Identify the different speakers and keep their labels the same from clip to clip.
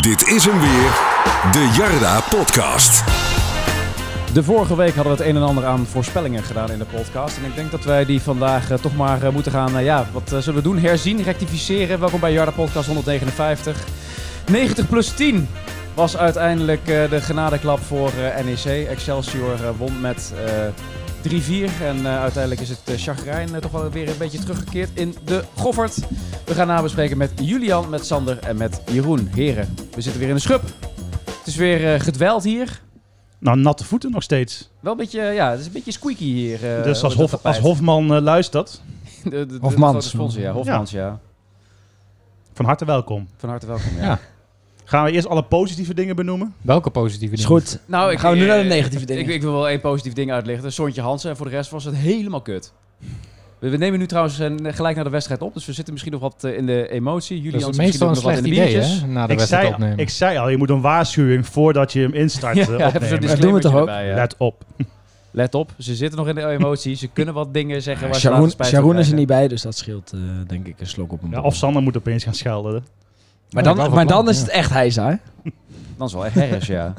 Speaker 1: Dit is hem weer, de Jarda Podcast.
Speaker 2: De vorige week hadden we het een en ander aan voorspellingen gedaan in de podcast. En ik denk dat wij die vandaag eh, toch maar eh, moeten gaan. eh, ja, wat eh, zullen we doen? Herzien, rectificeren. Welkom bij Jarda Podcast 159. 90 plus 10 was uiteindelijk eh, de genadeklap voor eh, NEC. Excelsior eh, won met eh, 3-4. En eh, uiteindelijk is het eh, chagrijn eh, toch wel weer een beetje teruggekeerd in de Goffert. We gaan nabespreken met Julian, met Sander en met Jeroen. Heren, we zitten weer in de schub. Het is weer eh, gedweld hier.
Speaker 3: Nou, natte voeten nog steeds.
Speaker 2: Wel een beetje, ja, het is een beetje squeaky hier. eh,
Speaker 3: dus als,
Speaker 2: onder
Speaker 3: Hof,
Speaker 2: het
Speaker 3: als
Speaker 2: tapijt.
Speaker 3: Hofman eh, luistert,
Speaker 2: De- de- de
Speaker 4: Hofmans.
Speaker 2: grote sponsor, ja. Hofmans, ja.
Speaker 3: van harte welkom.
Speaker 2: Van harte welkom, ja.
Speaker 4: Ja.
Speaker 3: Gaan we eerst alle positieve dingen benoemen?
Speaker 4: Welke positieve
Speaker 5: Is
Speaker 4: dingen?
Speaker 5: goed.
Speaker 2: Nou, ik,
Speaker 5: gaan we nu
Speaker 2: eh,
Speaker 5: naar de negatieve dingen.
Speaker 2: Ik, ik wil wel één positief ding uitlichten. Sontje Hansen. En voor de rest was het helemaal kut. We, we nemen nu trouwens eh, gelijk naar de wedstrijd op. Dus we zitten misschien nog wat eh, in de emotie. Jullie
Speaker 4: Dat is
Speaker 2: Hansen misschien
Speaker 4: meestal
Speaker 2: ook
Speaker 4: een
Speaker 2: nog wat
Speaker 4: slecht
Speaker 2: in de biertjes.
Speaker 4: idee, hè? Na de
Speaker 3: Ik
Speaker 4: wedstrijd
Speaker 3: zei,
Speaker 4: opnemen.
Speaker 3: ik zei al, je moet een waarschuwing voordat je hem instart eh,
Speaker 2: Ja, even zo'n
Speaker 3: opnemen.
Speaker 5: doen we toch
Speaker 2: disclaimertje
Speaker 5: ook?
Speaker 2: erbij, ja.
Speaker 3: Let op.
Speaker 2: Let op, ze zitten nog in de emotie. Ze kunnen wat dingen zeggen waar ze
Speaker 5: Sharon,
Speaker 2: later spijt van
Speaker 5: Sharon is er
Speaker 2: krijgen.
Speaker 5: niet bij, dus dat scheelt eh, denk ik een slok op een
Speaker 3: Ja,
Speaker 5: borrel.
Speaker 3: of Sander moet opeens gaan schelden.
Speaker 5: Maar
Speaker 4: Ja,
Speaker 5: dan,
Speaker 4: dat
Speaker 5: maar
Speaker 4: wel,
Speaker 5: dan is
Speaker 4: ja.
Speaker 5: het echt hijza, hè?
Speaker 2: Dan is wel echt herres, ja.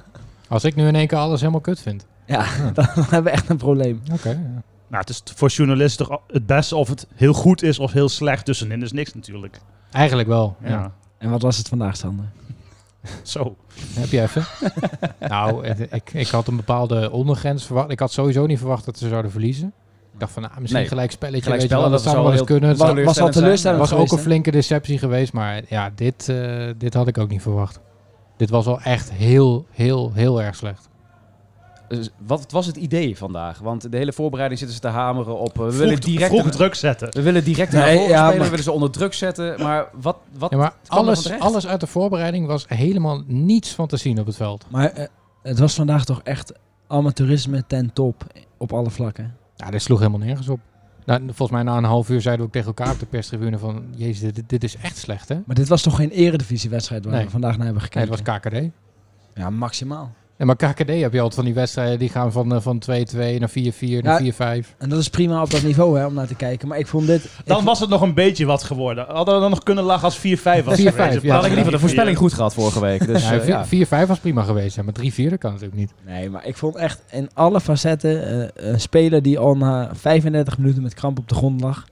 Speaker 4: Als ik nu in één keer alles helemaal kut vind.
Speaker 5: Ja, dan hebben we echt een probleem.
Speaker 4: Oké. ja.
Speaker 3: Nou, het is t- voor journalisten toch al- het beste of het heel goed is of heel slecht. Tussenin is niks natuurlijk.
Speaker 4: Eigenlijk wel.
Speaker 3: Ja.
Speaker 4: Ja.
Speaker 5: En wat was het vandaag, Sander?
Speaker 3: Zo.
Speaker 4: Heb je even? nou, het- ik, ik had een bepaalde ondergrens verwacht. Ik had sowieso niet verwacht dat ze zouden verliezen. Ik dacht van, ah, misschien
Speaker 2: Nee.
Speaker 4: gelijk spelletje.
Speaker 2: Gelijk
Speaker 4: weet je
Speaker 2: spel,
Speaker 4: wel,
Speaker 2: dat
Speaker 4: dat
Speaker 2: is
Speaker 4: zou
Speaker 2: al
Speaker 4: wel eens
Speaker 2: heel-
Speaker 4: kunnen. Het
Speaker 2: Wat-
Speaker 4: zou-
Speaker 5: Was, was al
Speaker 2: teleurstellend zijn.
Speaker 4: Het
Speaker 5: teleurstellend
Speaker 4: was ook
Speaker 5: geweest,
Speaker 4: een
Speaker 5: hè?
Speaker 4: flinke deceptie geweest. Maar ja, dit, eh, dit had ik ook niet verwacht. Dit was al echt heel, heel, heel erg slecht.
Speaker 2: Dus wat was het idee vandaag? Want de hele voorbereiding zitten ze te hameren op... eh, we
Speaker 3: Vroeg,
Speaker 2: willen direct
Speaker 3: vroeg druk zetten.
Speaker 2: We willen direct
Speaker 5: Nee,
Speaker 2: naar voren
Speaker 5: ja,
Speaker 2: spelen, we
Speaker 5: maar-
Speaker 2: willen ze onder druk zetten. Maar wat, wat
Speaker 4: Ja, maar
Speaker 2: kwam er van
Speaker 4: alles,
Speaker 2: terecht?
Speaker 4: alles uit de voorbereiding was helemaal niets van te zien op het veld.
Speaker 5: Maar eh, het was vandaag toch echt amateurisme ten top op alle vlakken.
Speaker 4: Ja, dit sloeg helemaal nergens op. Nou, volgens mij na een half uur zeiden we ook tegen elkaar op de perstribune van... Jezus, dit, dit is echt slecht, hè?
Speaker 5: Maar dit was toch geen eredivisiewedstrijd waar
Speaker 4: Nee.
Speaker 5: we vandaag naar hebben
Speaker 4: Nee,
Speaker 5: gekeken?
Speaker 4: het was KKD. Nee,
Speaker 5: ja, maximaal.
Speaker 4: maar KKD heb je altijd van die wedstrijden... die gaan van, eh, van 2-2 naar 4-4, naar 4-5.
Speaker 5: En dat is prima op dat niveau hè, om naar te kijken. Maar ik vond dit...
Speaker 3: Dan
Speaker 5: ik-
Speaker 3: was het nog een beetje wat geworden. Hadden we dan nog kunnen lachen als 4-5 was geweest.
Speaker 4: 4-5,
Speaker 3: In
Speaker 4: ja.
Speaker 3: plaats
Speaker 2: Dan had ik in ieder geval de
Speaker 3: van
Speaker 2: voorspelling
Speaker 3: 4-4.
Speaker 2: goed gehad vorige week. Dus,
Speaker 4: Ja,
Speaker 2: eh, ja.
Speaker 4: vi- 4-5 was prima geweest, hè, maar 3-4 dat kan natuurlijk niet.
Speaker 5: Nee, maar ik vond echt in alle facetten eh, een speler die al na 35 minuten met kramp op de grond lag.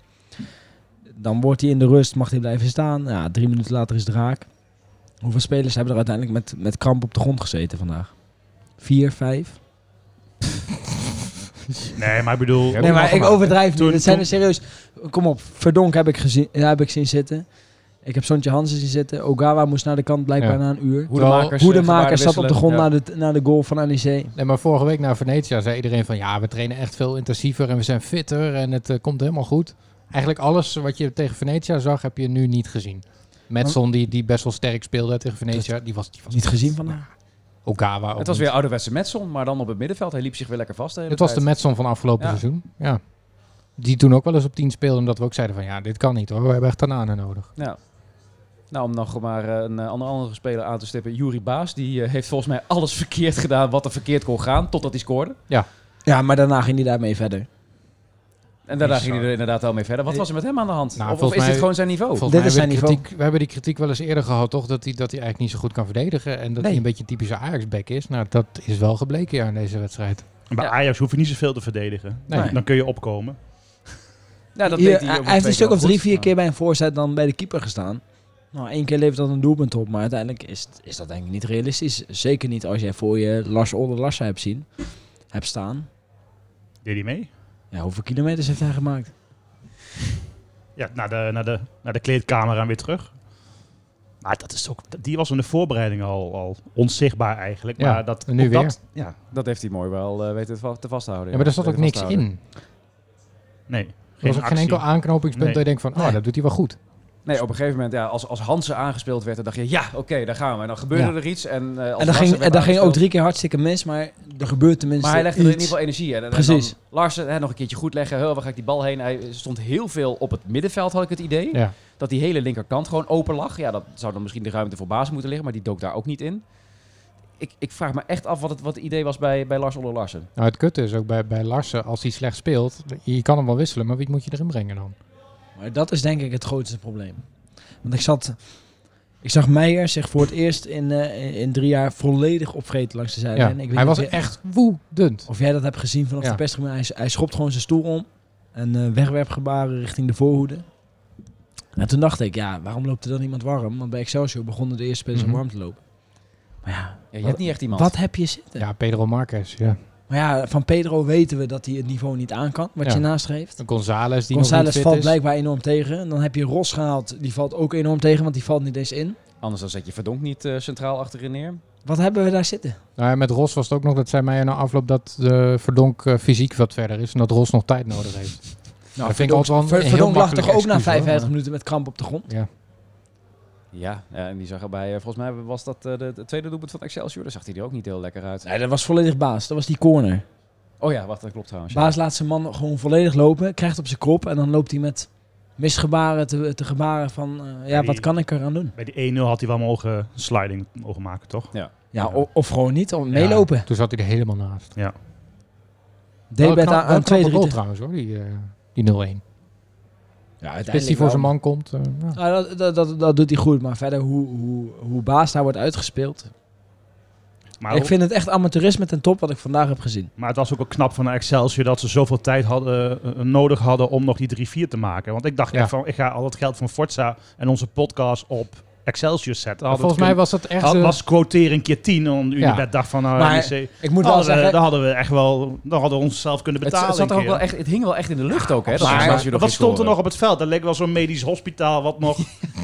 Speaker 5: Dan wordt hij in de rust, mag hij blijven staan. Ja, drie minuten later is het raak. Hoeveel spelers hebben er uiteindelijk met, met kramp op de grond gezeten vandaag? Vier, vijf?
Speaker 3: Nee, maar ik bedoel...
Speaker 4: Ja,
Speaker 5: Nee, maar ik
Speaker 4: nagemaakt,
Speaker 5: overdrijf
Speaker 3: Toen-
Speaker 5: niet. Het zijn
Speaker 3: toen-
Speaker 5: er serieus... Kom op, Verdonk heb ik, gezien, ja, heb ik zien zitten. Ik heb Sontje Hansen zien zitten. Ogawa moest naar de kant blijkbaar
Speaker 4: Ja.
Speaker 5: na een uur.
Speaker 2: Hoedemakers, eh,
Speaker 5: Hoedemaker zat op de
Speaker 2: gebaarden
Speaker 5: grond
Speaker 2: wisselen.
Speaker 5: naar, de, naar de goal van NEC.
Speaker 4: Nee, maar vorige week naar Venetia zei iedereen van... ja, we trainen echt veel intensiever en we zijn fitter en het eh, komt helemaal goed. Eigenlijk alles wat je tegen Venetia zag, heb je nu niet gezien. Metson, die, die best wel sterk speelde tegen Venetia, die was, die was
Speaker 5: Niet gezien vandaag.
Speaker 4: Okawa ook
Speaker 2: Het was
Speaker 4: niet.
Speaker 2: weer ouderwetse Metson, maar dan op het middenveld. Hij liep zich weer lekker vast de hele
Speaker 4: Het was de
Speaker 2: tijd.
Speaker 4: Metson van afgelopen
Speaker 2: Ja.
Speaker 4: seizoen. Ja. Die toen ook wel eens op 10 speelde. Omdat we ook zeiden van ja, dit kan niet hoor. We hebben echt Tanane
Speaker 5: Oh,
Speaker 4: nodig.
Speaker 2: Ja. Nou, om nog maar eh, een eh, andere, andere speler aan te stippen. Juri Baas, die eh, heeft volgens mij alles verkeerd gedaan wat er verkeerd kon gaan, totdat hij scoorde.
Speaker 5: Ja, maar daarna ging hij daarmee verder.
Speaker 2: En daarna
Speaker 4: Bizar. Eh,
Speaker 2: ging hij er inderdaad wel mee verder. Wat was er met hem aan de hand?
Speaker 4: Nou,
Speaker 2: of of
Speaker 4: volgens
Speaker 2: is dit
Speaker 4: mij-
Speaker 2: gewoon zijn niveau?
Speaker 4: Volgens
Speaker 5: Dit
Speaker 4: mij
Speaker 5: is
Speaker 4: hebben we de
Speaker 5: zijn niveau.
Speaker 4: kritiek- we hebben die kritiek wel eens eerder gehad toch. Dat hij, dat hij eigenlijk niet zo goed kan verdedigen. En dat
Speaker 5: Nee.
Speaker 4: hij een beetje een typische Ajax-back is. Nou, dat is wel gebleken ja in deze wedstrijd.
Speaker 3: Bij
Speaker 2: Ja.
Speaker 3: Ajax hoef je niet zoveel te verdedigen.
Speaker 4: Nee.
Speaker 3: Dan kun je opkomen.
Speaker 2: Ja, dat
Speaker 5: Hier,
Speaker 2: deed hij ook
Speaker 5: hij
Speaker 2: nog
Speaker 5: heeft
Speaker 2: twee
Speaker 4: dus
Speaker 5: een stuk
Speaker 2: keer
Speaker 5: of
Speaker 2: goed.
Speaker 5: drie, vier
Speaker 2: Maar-
Speaker 5: keer bij een voorzet dan bij de keeper gestaan. Nou, één keer levert dat een doelpunt op, maar uiteindelijk is, het- is dat denk ik niet realistisch. Zeker niet als jij voor je Lars Older Larsen hebt zien, hebt staan.
Speaker 3: Deed hij mee?
Speaker 5: Ja, hoeveel kilometers heeft hij gemaakt?
Speaker 3: Ja, naar de, naar de, naar de kleedkamer en weer terug. Maar dat is ook, die was in de voorbereiding al, al onzichtbaar eigenlijk.
Speaker 4: Ja,
Speaker 3: maar dat,
Speaker 4: en nu
Speaker 3: op
Speaker 4: weer.
Speaker 3: Dat, ja,
Speaker 2: Dat heeft hij mooi wel eh, weten te va- te vasthouden.
Speaker 4: Ja, maar er zat ook
Speaker 2: Weten
Speaker 4: niks
Speaker 2: vasthouden.
Speaker 4: in.
Speaker 3: nee. Geen
Speaker 4: Er was ook geen
Speaker 3: actie.
Speaker 4: enkel aanknopingspunt
Speaker 3: Nee.
Speaker 4: dat je denkt van... Oh,
Speaker 5: Nee.
Speaker 4: dat doet hij wel goed.
Speaker 2: Nee, op een gegeven moment, ja, als, als Hansen aangespeeld werd, dan dacht je, ja, oké, daar gaan we. En dan gebeurde
Speaker 4: Ja.
Speaker 2: er iets. En, eh, als
Speaker 5: en dat
Speaker 2: Larsen
Speaker 5: ging,
Speaker 2: werd
Speaker 5: en dat ging ook
Speaker 2: aangespeeld-
Speaker 5: drie keer hartstikke mis, maar er gebeurt tenminste
Speaker 2: Maar hij legde er in
Speaker 5: iets.
Speaker 2: ieder geval energie in. En,
Speaker 5: Precies.
Speaker 2: En dan Larsen hè, nog een keertje goed leggen. Heel, waar ga ik die bal heen? Hij stond heel veel op het middenveld, had ik het idee.
Speaker 4: Ja.
Speaker 2: Dat die hele linkerkant gewoon open lag. Ja, dat zou dan misschien de ruimte voor Baas moeten liggen, maar die dook daar ook niet in. Ik, ik vraag me echt af wat het, wat het idee was bij, bij Lars Olle Larsen.
Speaker 4: Nou, het kutte is ook bij, bij Larsen, als hij slecht speelt... Je kan hem wel wisselen, maar wie moet je erin brengen dan?
Speaker 5: Maar dat is denk ik het grootste probleem. Want ik zat Ik zag Meijer zich voor het eerst in, eh, in drie jaar volledig opvreten langs de zijlijn.
Speaker 4: Ja.
Speaker 5: Ik weet
Speaker 4: Hij
Speaker 5: niet
Speaker 4: was
Speaker 5: of je-
Speaker 4: echt woedend.
Speaker 5: Of jij dat hebt gezien vanaf
Speaker 4: Ja.
Speaker 5: de perstribune. Hij, hij schopt gewoon zijn stoel om. En eh, wegwerpgebaren richting de voorhoede. En toen dacht ik, ja, waarom loopt er dan iemand warm? Want bij Excelsior begonnen de eerste spelers
Speaker 4: Mhm.
Speaker 5: om warm te lopen. Maar ja,
Speaker 2: Ja, je hebt niet echt iemand.
Speaker 5: wat heb je zitten?
Speaker 4: Ja, Pedro Marquez. Ja.
Speaker 5: Maar ja, van Pedro weten we dat hij het niveau niet aan kan, wat
Speaker 4: Ja.
Speaker 5: je nastreeft.
Speaker 4: González die nog niet
Speaker 5: González
Speaker 4: fit
Speaker 5: valt
Speaker 4: is.
Speaker 5: blijkbaar enorm tegen. En dan heb je Ros gehaald, die valt ook enorm tegen, want die valt niet eens in.
Speaker 2: Anders dan zet je Verdonk niet eh, centraal achterin neer.
Speaker 5: Wat hebben we daar zitten?
Speaker 4: Nou ja, met Ros was het ook nog, dat zei mij na afloop, dat eh, Verdonk eh, fysiek wat verder is en dat Ros nog tijd nodig heeft.
Speaker 5: Nou,
Speaker 4: dat vind ik altijd wel een
Speaker 5: Ver-
Speaker 4: heel
Speaker 5: Verdonk lag
Speaker 4: makkelijk
Speaker 5: toch ook na
Speaker 4: excuus, hoor,
Speaker 5: 55
Speaker 4: maar-
Speaker 5: minuten met kramp op de grond?
Speaker 2: Ja, ja, en die zag er bij, eh, volgens mij was dat eh, de, de tweede doelpunt van Excelsior. Daar zag hij er ook niet heel lekker uit.
Speaker 5: Nee, dat was volledig baas. Dat was die corner.
Speaker 2: Oh ja, wacht, dat klopt trouwens. ja.
Speaker 5: Baas laat zijn man gewoon volledig lopen, krijgt op zijn kop en dan loopt hij met misgebaren te, te gebaren van, eh, ja,
Speaker 3: Nee.
Speaker 5: wat kan ik eraan doen?
Speaker 3: Bij die 1-0 had hij wel mogen een sliding mogen maken, toch?
Speaker 5: Ja,
Speaker 3: Ja.
Speaker 5: o- of gewoon niet, om meelopen.
Speaker 4: Ja, toen zat hij er helemaal naast.
Speaker 5: Deed
Speaker 4: Wel een
Speaker 5: bij
Speaker 4: knap- wel
Speaker 5: aan
Speaker 4: een
Speaker 5: twee,
Speaker 4: knappe
Speaker 5: drie.
Speaker 4: goal
Speaker 5: te-
Speaker 4: trouwens hoor, die, eh, die 0-1.
Speaker 5: Ja,
Speaker 4: Spits
Speaker 5: uiteindelijk
Speaker 4: die voor
Speaker 5: wel.
Speaker 4: zijn man komt. eh, ja.
Speaker 5: Nou, dat, dat, dat, dat doet hij goed, maar verder hoe, hoe, hoe Baas daar wordt uitgespeeld.
Speaker 3: Maar,
Speaker 5: ik vind het echt amateurisme ten top wat ik vandaag heb gezien.
Speaker 3: maar het was ook wel knap van Excelsior dat ze zoveel tijd hadden, eh, eh, nodig hadden om nog die 3-4 te maken. Want ik dacht
Speaker 4: Ja.
Speaker 3: echt van, ik ga al dat geld van Forza en onze podcast op Excelsior zetten. Hadden
Speaker 4: Volgens
Speaker 3: het
Speaker 4: mij
Speaker 3: kunnen-
Speaker 4: was dat echt... eh,
Speaker 3: had, was quotering keer 10, omdat
Speaker 4: Ja.
Speaker 3: Unibet dacht van, nou,
Speaker 5: Maar-
Speaker 3: NEC,
Speaker 5: Ik moet wel
Speaker 3: hadden we,
Speaker 5: zeggen,
Speaker 3: dan hadden we echt wel, dan hadden we onszelf kunnen
Speaker 2: Het, het
Speaker 3: betalen.
Speaker 2: zat er
Speaker 3: een
Speaker 2: ook
Speaker 3: keer.
Speaker 2: wel echt, het hing wel echt in de lucht ook, hè? dat
Speaker 3: Maar
Speaker 2: Excelsior nog
Speaker 3: wat
Speaker 2: ging
Speaker 3: stond er
Speaker 2: scoren.
Speaker 3: nog op het veld? Dat leek wel zo'n medisch hospitaal wat nog...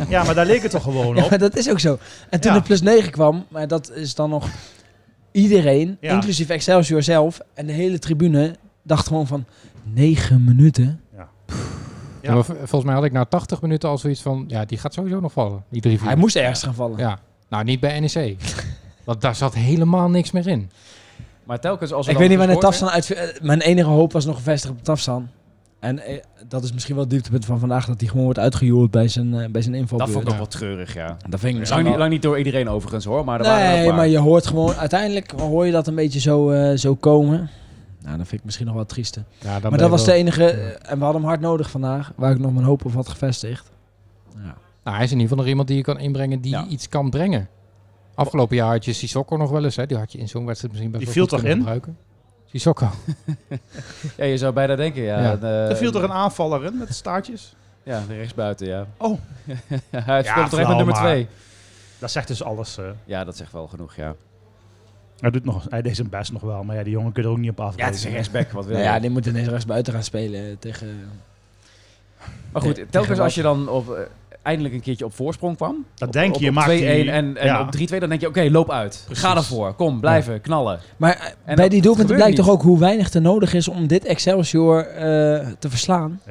Speaker 3: ja, maar daar leek het toch gewoon
Speaker 5: ja,
Speaker 3: op?
Speaker 5: maar dat is ook zo. En toen
Speaker 3: Ja.
Speaker 5: de plus 9 kwam, maar dat is dan nog iedereen,
Speaker 3: Ja.
Speaker 5: inclusief Excelsior zelf en de hele tribune, dacht gewoon van 9 minuten.
Speaker 3: Ja.
Speaker 4: ja, maar v- volgens mij had ik na 80 minuten al zoiets van... Ja, die gaat sowieso nog vallen, die 3
Speaker 5: Hij moest ergens gaan vallen.
Speaker 4: Ja, nou niet bij NEC. Want daar zat helemaal niks meer in.
Speaker 2: Maar telkens als er
Speaker 5: Ik
Speaker 2: dan
Speaker 5: weet niet wanneer
Speaker 2: gescoord
Speaker 5: Tafsan uit... eh, Mijn enige hoop was nog gevestigd op Tafsan. En eh, dat is misschien wel het dieptepunt van vandaag, dat hij gewoon wordt uitgejoeld bij zijn, eh, bij zijn
Speaker 2: werd.
Speaker 5: invalbeurt.
Speaker 2: Dat vond ik nog
Speaker 4: Ja.
Speaker 2: wel treurig, ja.
Speaker 5: Dat vind ik misschien
Speaker 2: Lang niet,
Speaker 5: wel-
Speaker 2: lang niet door iedereen overigens hoor, maar er waren er ook
Speaker 5: Nee,
Speaker 2: maar.
Speaker 5: maar je hoort gewoon... Uiteindelijk hoor je dat een beetje zo, eh, zo komen. Nou, dat vind ik misschien nog wel trieste.
Speaker 4: Ja, dan ben
Speaker 5: maar
Speaker 4: je
Speaker 5: dat was
Speaker 4: wel-
Speaker 5: de enige... eh, en we hadden hem hard nodig vandaag, waar ik nog mijn hoop op had gevestigd. Ja.
Speaker 4: Nou, hij is in ieder geval nog iemand die je kan inbrengen die
Speaker 2: Ja.
Speaker 4: iets kan brengen. Afgelopen jaar had je Sissoko nog wel eens. Hè? Die had je in zo'n wedstrijd misschien best
Speaker 3: Die
Speaker 4: wel
Speaker 3: viel
Speaker 4: goed
Speaker 3: toch
Speaker 4: kunnen gebruiken. Sissoko.
Speaker 2: Ja, je zou bijna denken, ja.
Speaker 4: Ja.
Speaker 2: eh,
Speaker 3: Er viel toch een aanvaller in met staartjes?
Speaker 2: Ja, de rechtsbuiten, ja.
Speaker 3: Oh.
Speaker 2: Hij speelt terecht met
Speaker 3: flauw,
Speaker 2: nummer
Speaker 3: maar-
Speaker 2: 2.
Speaker 3: Dat zegt dus alles. eh.
Speaker 2: Ja, dat zegt wel genoeg, ja.
Speaker 3: Hij, doet nog, hij deed zijn best nog wel, maar ja, die jongen kun je er ook niet op afrekenen.
Speaker 2: Ja, het is een rechtsback, wat wil
Speaker 5: Nou
Speaker 2: je?
Speaker 5: ja, die moet ineens rechts buiten gaan spelen eh, tegen...
Speaker 2: Maar goed,
Speaker 5: Tegen
Speaker 2: telkens
Speaker 5: wat?
Speaker 2: als je dan op, eh, eindelijk een keertje op voorsprong kwam.
Speaker 3: Dat
Speaker 2: op-
Speaker 3: denk
Speaker 2: op-
Speaker 3: je,
Speaker 2: op
Speaker 3: maakt
Speaker 2: 2-1
Speaker 3: die-
Speaker 2: en, en
Speaker 3: ja.
Speaker 2: op 3-2, dan denk je, oké, loop uit.
Speaker 3: Precies.
Speaker 2: Ga ervoor, kom, blijven, knallen.
Speaker 5: Maar eh,
Speaker 2: dat-
Speaker 5: bij die
Speaker 2: dat
Speaker 5: doelpunten
Speaker 2: gebeurt
Speaker 5: blijkt
Speaker 2: niet.
Speaker 5: toch ook hoe weinig er nodig is om dit Excelsior eh, te verslaan.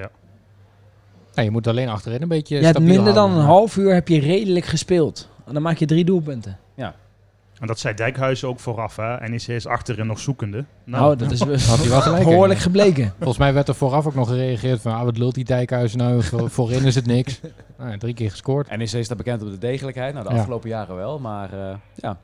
Speaker 4: Nou, je moet alleen achterin een beetje
Speaker 5: Je hebt
Speaker 4: stabiel
Speaker 5: minder dan
Speaker 4: houden.
Speaker 5: een half uur heb je redelijk gespeeld. En dan maak je drie doelpunten.
Speaker 3: En dat zei Dijkhuizen ook vooraf, hè. NEC is achterin nog zoekende.
Speaker 5: Nou, dat is
Speaker 4: Had hij wel gelijk. in.
Speaker 5: behoorlijk gebleken.
Speaker 4: Volgens mij werd er vooraf ook nog gereageerd van... Ah, wat lult die Dijkhuizen nou? Voor- Voorin is het niks. Nou, drie keer gescoord.
Speaker 2: NEC staat bekend op de degelijkheid, nou de
Speaker 4: Ja.
Speaker 2: afgelopen jaren wel, maar eh, ja.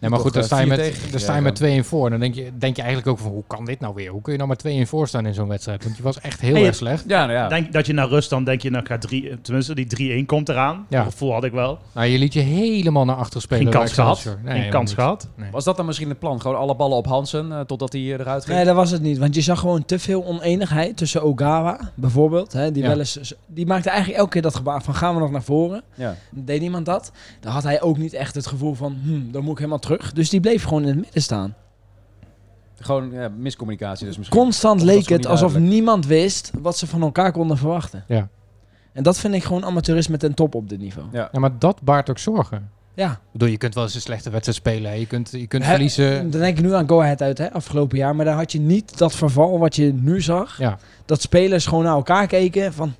Speaker 4: Nee, maar
Speaker 2: Toch,
Speaker 4: goed, daar
Speaker 2: eh,
Speaker 4: sta je
Speaker 2: vier
Speaker 4: met,
Speaker 2: tegen
Speaker 4: daar sta je
Speaker 2: gekregen.
Speaker 4: met twee in voor. En dan denk je, denk je eigenlijk ook van... Hoe kan dit nou weer? Hoe kun je nou maar twee in voor staan in zo'n wedstrijd? Want je was echt heel
Speaker 3: Hey,
Speaker 4: erg slecht.
Speaker 2: Ja, nou ja.
Speaker 3: Denk, dat je naar rust dan denk je, nou, ik ga drie, tenminste, die 3-1 komt eraan.
Speaker 4: Ja.
Speaker 3: Dat gevoel had ik wel.
Speaker 4: Nou, je liet je helemaal naar achter spelen.
Speaker 3: Geen
Speaker 4: bij
Speaker 3: kans gehad.
Speaker 4: Excelsior. Nee,
Speaker 3: Geen
Speaker 4: helemaal
Speaker 3: kans
Speaker 4: niet.
Speaker 3: gehad.
Speaker 2: Was dat dan misschien het plan? Gewoon alle ballen op Hansen eh, totdat hij eh, eruit ging?
Speaker 5: Nee, dat was het niet. Want je zag gewoon te veel oneenigheid tussen Ogawa bijvoorbeeld. Hè, die,
Speaker 4: Ja.
Speaker 5: wel eens, die maakte eigenlijk elke keer dat gebaar van gaan we nog naar voren.
Speaker 2: Ja.
Speaker 5: Deed niemand dat. Dan had hij ook niet echt het gevoel van hm, dan moet ik helemaal terug. Dus die bleef gewoon in het midden staan.
Speaker 2: Gewoon ja, miscommunicatie dus misschien.
Speaker 5: Constant
Speaker 2: Dat was
Speaker 5: leek
Speaker 2: gewoon
Speaker 5: het
Speaker 2: niet
Speaker 5: alsof
Speaker 2: duidelijk.
Speaker 5: niemand wist wat ze van elkaar konden verwachten.
Speaker 4: Ja.
Speaker 5: En dat vind ik gewoon amateurisme ten top op dit niveau.
Speaker 2: Ja.
Speaker 4: Ja, maar dat baart ook zorgen.
Speaker 5: Ja,
Speaker 4: Ik bedoel, je kunt wel eens een slechte wedstrijd spelen. hè. Je kunt, je kunt
Speaker 5: Hè,
Speaker 2: Eh.
Speaker 4: verliezen.
Speaker 5: dan denk ik nu aan Go Ahead uit, hè, afgelopen jaar. Maar daar had je niet dat verval wat je nu zag.
Speaker 4: Ja.
Speaker 5: Dat spelers gewoon naar elkaar keken van...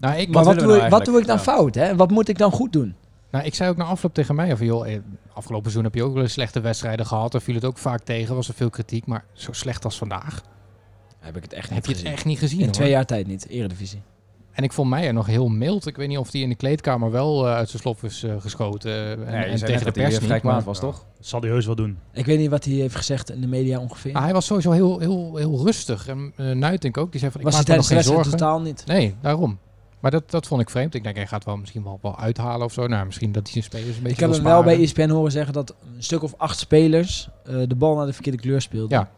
Speaker 4: Nou, ik,
Speaker 5: maar wat,
Speaker 2: willen we
Speaker 5: doe,
Speaker 2: nou
Speaker 5: ik, wat doe ik dan
Speaker 2: eigenlijk? Ja.
Speaker 5: fout? Hè? Wat moet ik dan goed doen?
Speaker 4: nou, ik zei ook na afloop tegen mij van... joh, eh, afgelopen seizoen heb je ook wel eens slechte wedstrijden gehad. Daar viel het ook vaak tegen. Was er veel kritiek. Maar zo slecht als vandaag
Speaker 5: Heb ik het echt
Speaker 4: heb je het echt niet gezien.
Speaker 5: In
Speaker 4: hoor.
Speaker 5: twee jaar tijd niet, Eredivisie.
Speaker 4: En ik vond Meijer nog heel mild. Ik weet niet of hij in de kleedkamer wel eh, uit zijn slof is eh, geschoten. eh, en,
Speaker 2: Nee, je
Speaker 4: en
Speaker 2: zei
Speaker 4: tegen
Speaker 2: net
Speaker 4: de
Speaker 2: dat hij
Speaker 4: pers
Speaker 2: eh,
Speaker 4: niet.
Speaker 2: vrij kwaad
Speaker 4: maar-
Speaker 2: was,
Speaker 3: Ja.
Speaker 2: toch?
Speaker 3: Dat zal hij heus wel doen.
Speaker 5: Ik weet niet wat hij heeft gezegd in de media ongeveer.
Speaker 4: Maar Ah, hij was sowieso heel, heel, heel rustig. En eh, Nuitink ook. Die zei van, ik
Speaker 5: was hij
Speaker 4: maak me nog
Speaker 5: tijdens de
Speaker 4: geen
Speaker 5: wedstrijd
Speaker 4: zorgen.
Speaker 5: totaal niet.
Speaker 4: Nee, daarom. Maar Maar dat, dat vond ik vreemd. Ik denk, hij gaat wel misschien wel, wel uithalen of zo. Nou, misschien dat hij zijn spelers een beetje
Speaker 5: Ik heb
Speaker 4: wil
Speaker 5: hem wel bij E
Speaker 4: sparen.
Speaker 5: ESPN horen zeggen dat een stuk of acht spelers eh, de bal naar de verkeerde kleur speelden.
Speaker 4: Ja,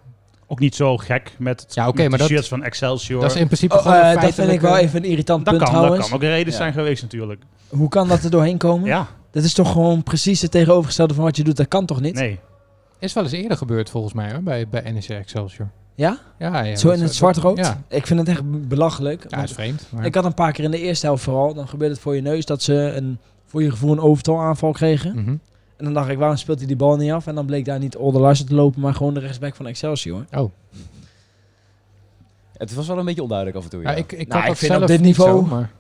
Speaker 3: Ook niet zo gek met, het-
Speaker 4: Ja, oké,
Speaker 3: met
Speaker 4: maar
Speaker 3: de
Speaker 4: dat-
Speaker 3: shirts van Excelsior.
Speaker 4: Dat is in principe
Speaker 5: Oh,
Speaker 4: gewoon
Speaker 5: eh,
Speaker 4: een
Speaker 5: dat vind ik wel
Speaker 4: feitelijke-
Speaker 5: even een irritant
Speaker 3: dat
Speaker 5: punt
Speaker 3: kan, dat
Speaker 5: trouwens.
Speaker 3: kan ook de reden
Speaker 5: Ja.
Speaker 3: zijn geweest natuurlijk.
Speaker 5: Hoe kan dat er doorheen komen?
Speaker 3: Ja,
Speaker 5: Dat is toch gewoon precies het tegenovergestelde van wat je doet. Dat kan toch niet?
Speaker 3: nee.
Speaker 4: Is wel eens eerder gebeurd volgens mij hoor, bij, bij NEC Excelsior.
Speaker 5: Ja?
Speaker 4: Ja, ja.
Speaker 5: Zo
Speaker 4: dat-
Speaker 5: in het
Speaker 4: dat-
Speaker 5: zwart-rood?
Speaker 4: Ja,
Speaker 5: Ik vind het echt belachelijk.
Speaker 4: ja
Speaker 5: want
Speaker 4: is vreemd. Maar
Speaker 5: ik had een paar keer in de eerste helft vooral, dan gebeurde het voor je neus dat ze een, voor je gevoel een overtal aanval kregen.
Speaker 4: Mhm.
Speaker 5: En dan dacht ik, waarom speelt hij die bal niet af? En dan bleek daar niet Olde Larsen te lopen, maar gewoon de rechtsback van Excelsior.
Speaker 4: Oh,
Speaker 2: Het was wel een beetje onduidelijk af en toe. Ja.
Speaker 4: Ja, ik, ik,
Speaker 5: Nou,
Speaker 4: had
Speaker 5: ik
Speaker 4: dat
Speaker 5: vind
Speaker 4: zelf
Speaker 5: op dit
Speaker 4: niet zo,
Speaker 5: niveau-
Speaker 4: maar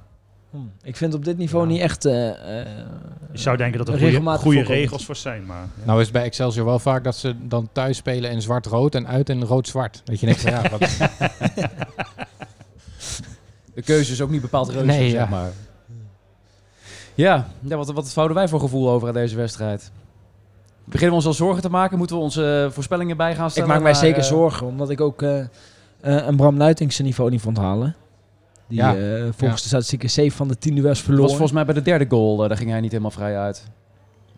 Speaker 5: Hm. Ik vind op dit niveau
Speaker 4: Ja.
Speaker 5: niet echt... eh, eh,
Speaker 3: Je zou denken dat er goede,
Speaker 5: Regelmatig
Speaker 3: goede
Speaker 5: voorkomt.
Speaker 3: regels voor zijn, maar... ja.
Speaker 4: nou is het bij Excelsior wel vaak dat ze dan thuis spelen in zwart-rood en uit in rood-zwart. Dat je denkt, van, ja, wat,
Speaker 2: De keuze is ook niet bepaald reuze,
Speaker 4: Nee, ja.
Speaker 2: zeg maar. Ja, ja wat, wat houden wij voor gevoel over aan deze wedstrijd? Beginnen we ons al zorgen te maken? Moeten we onze eh, voorspellingen bij gaan
Speaker 5: ik
Speaker 2: stellen?
Speaker 5: maak mij
Speaker 2: Maar,
Speaker 5: zeker
Speaker 2: eh,
Speaker 5: zorgen, omdat ik ook eh, eh, een Bram Luiting zijn niveau niet vond halen. Die
Speaker 4: Ja.
Speaker 5: eh, volgens
Speaker 4: Ja.
Speaker 5: de statistieken 7 van de 10 duels
Speaker 2: Het was
Speaker 5: verloren.
Speaker 2: volgens mij bij de derde goal, eh, daar ging hij niet helemaal vrij uit.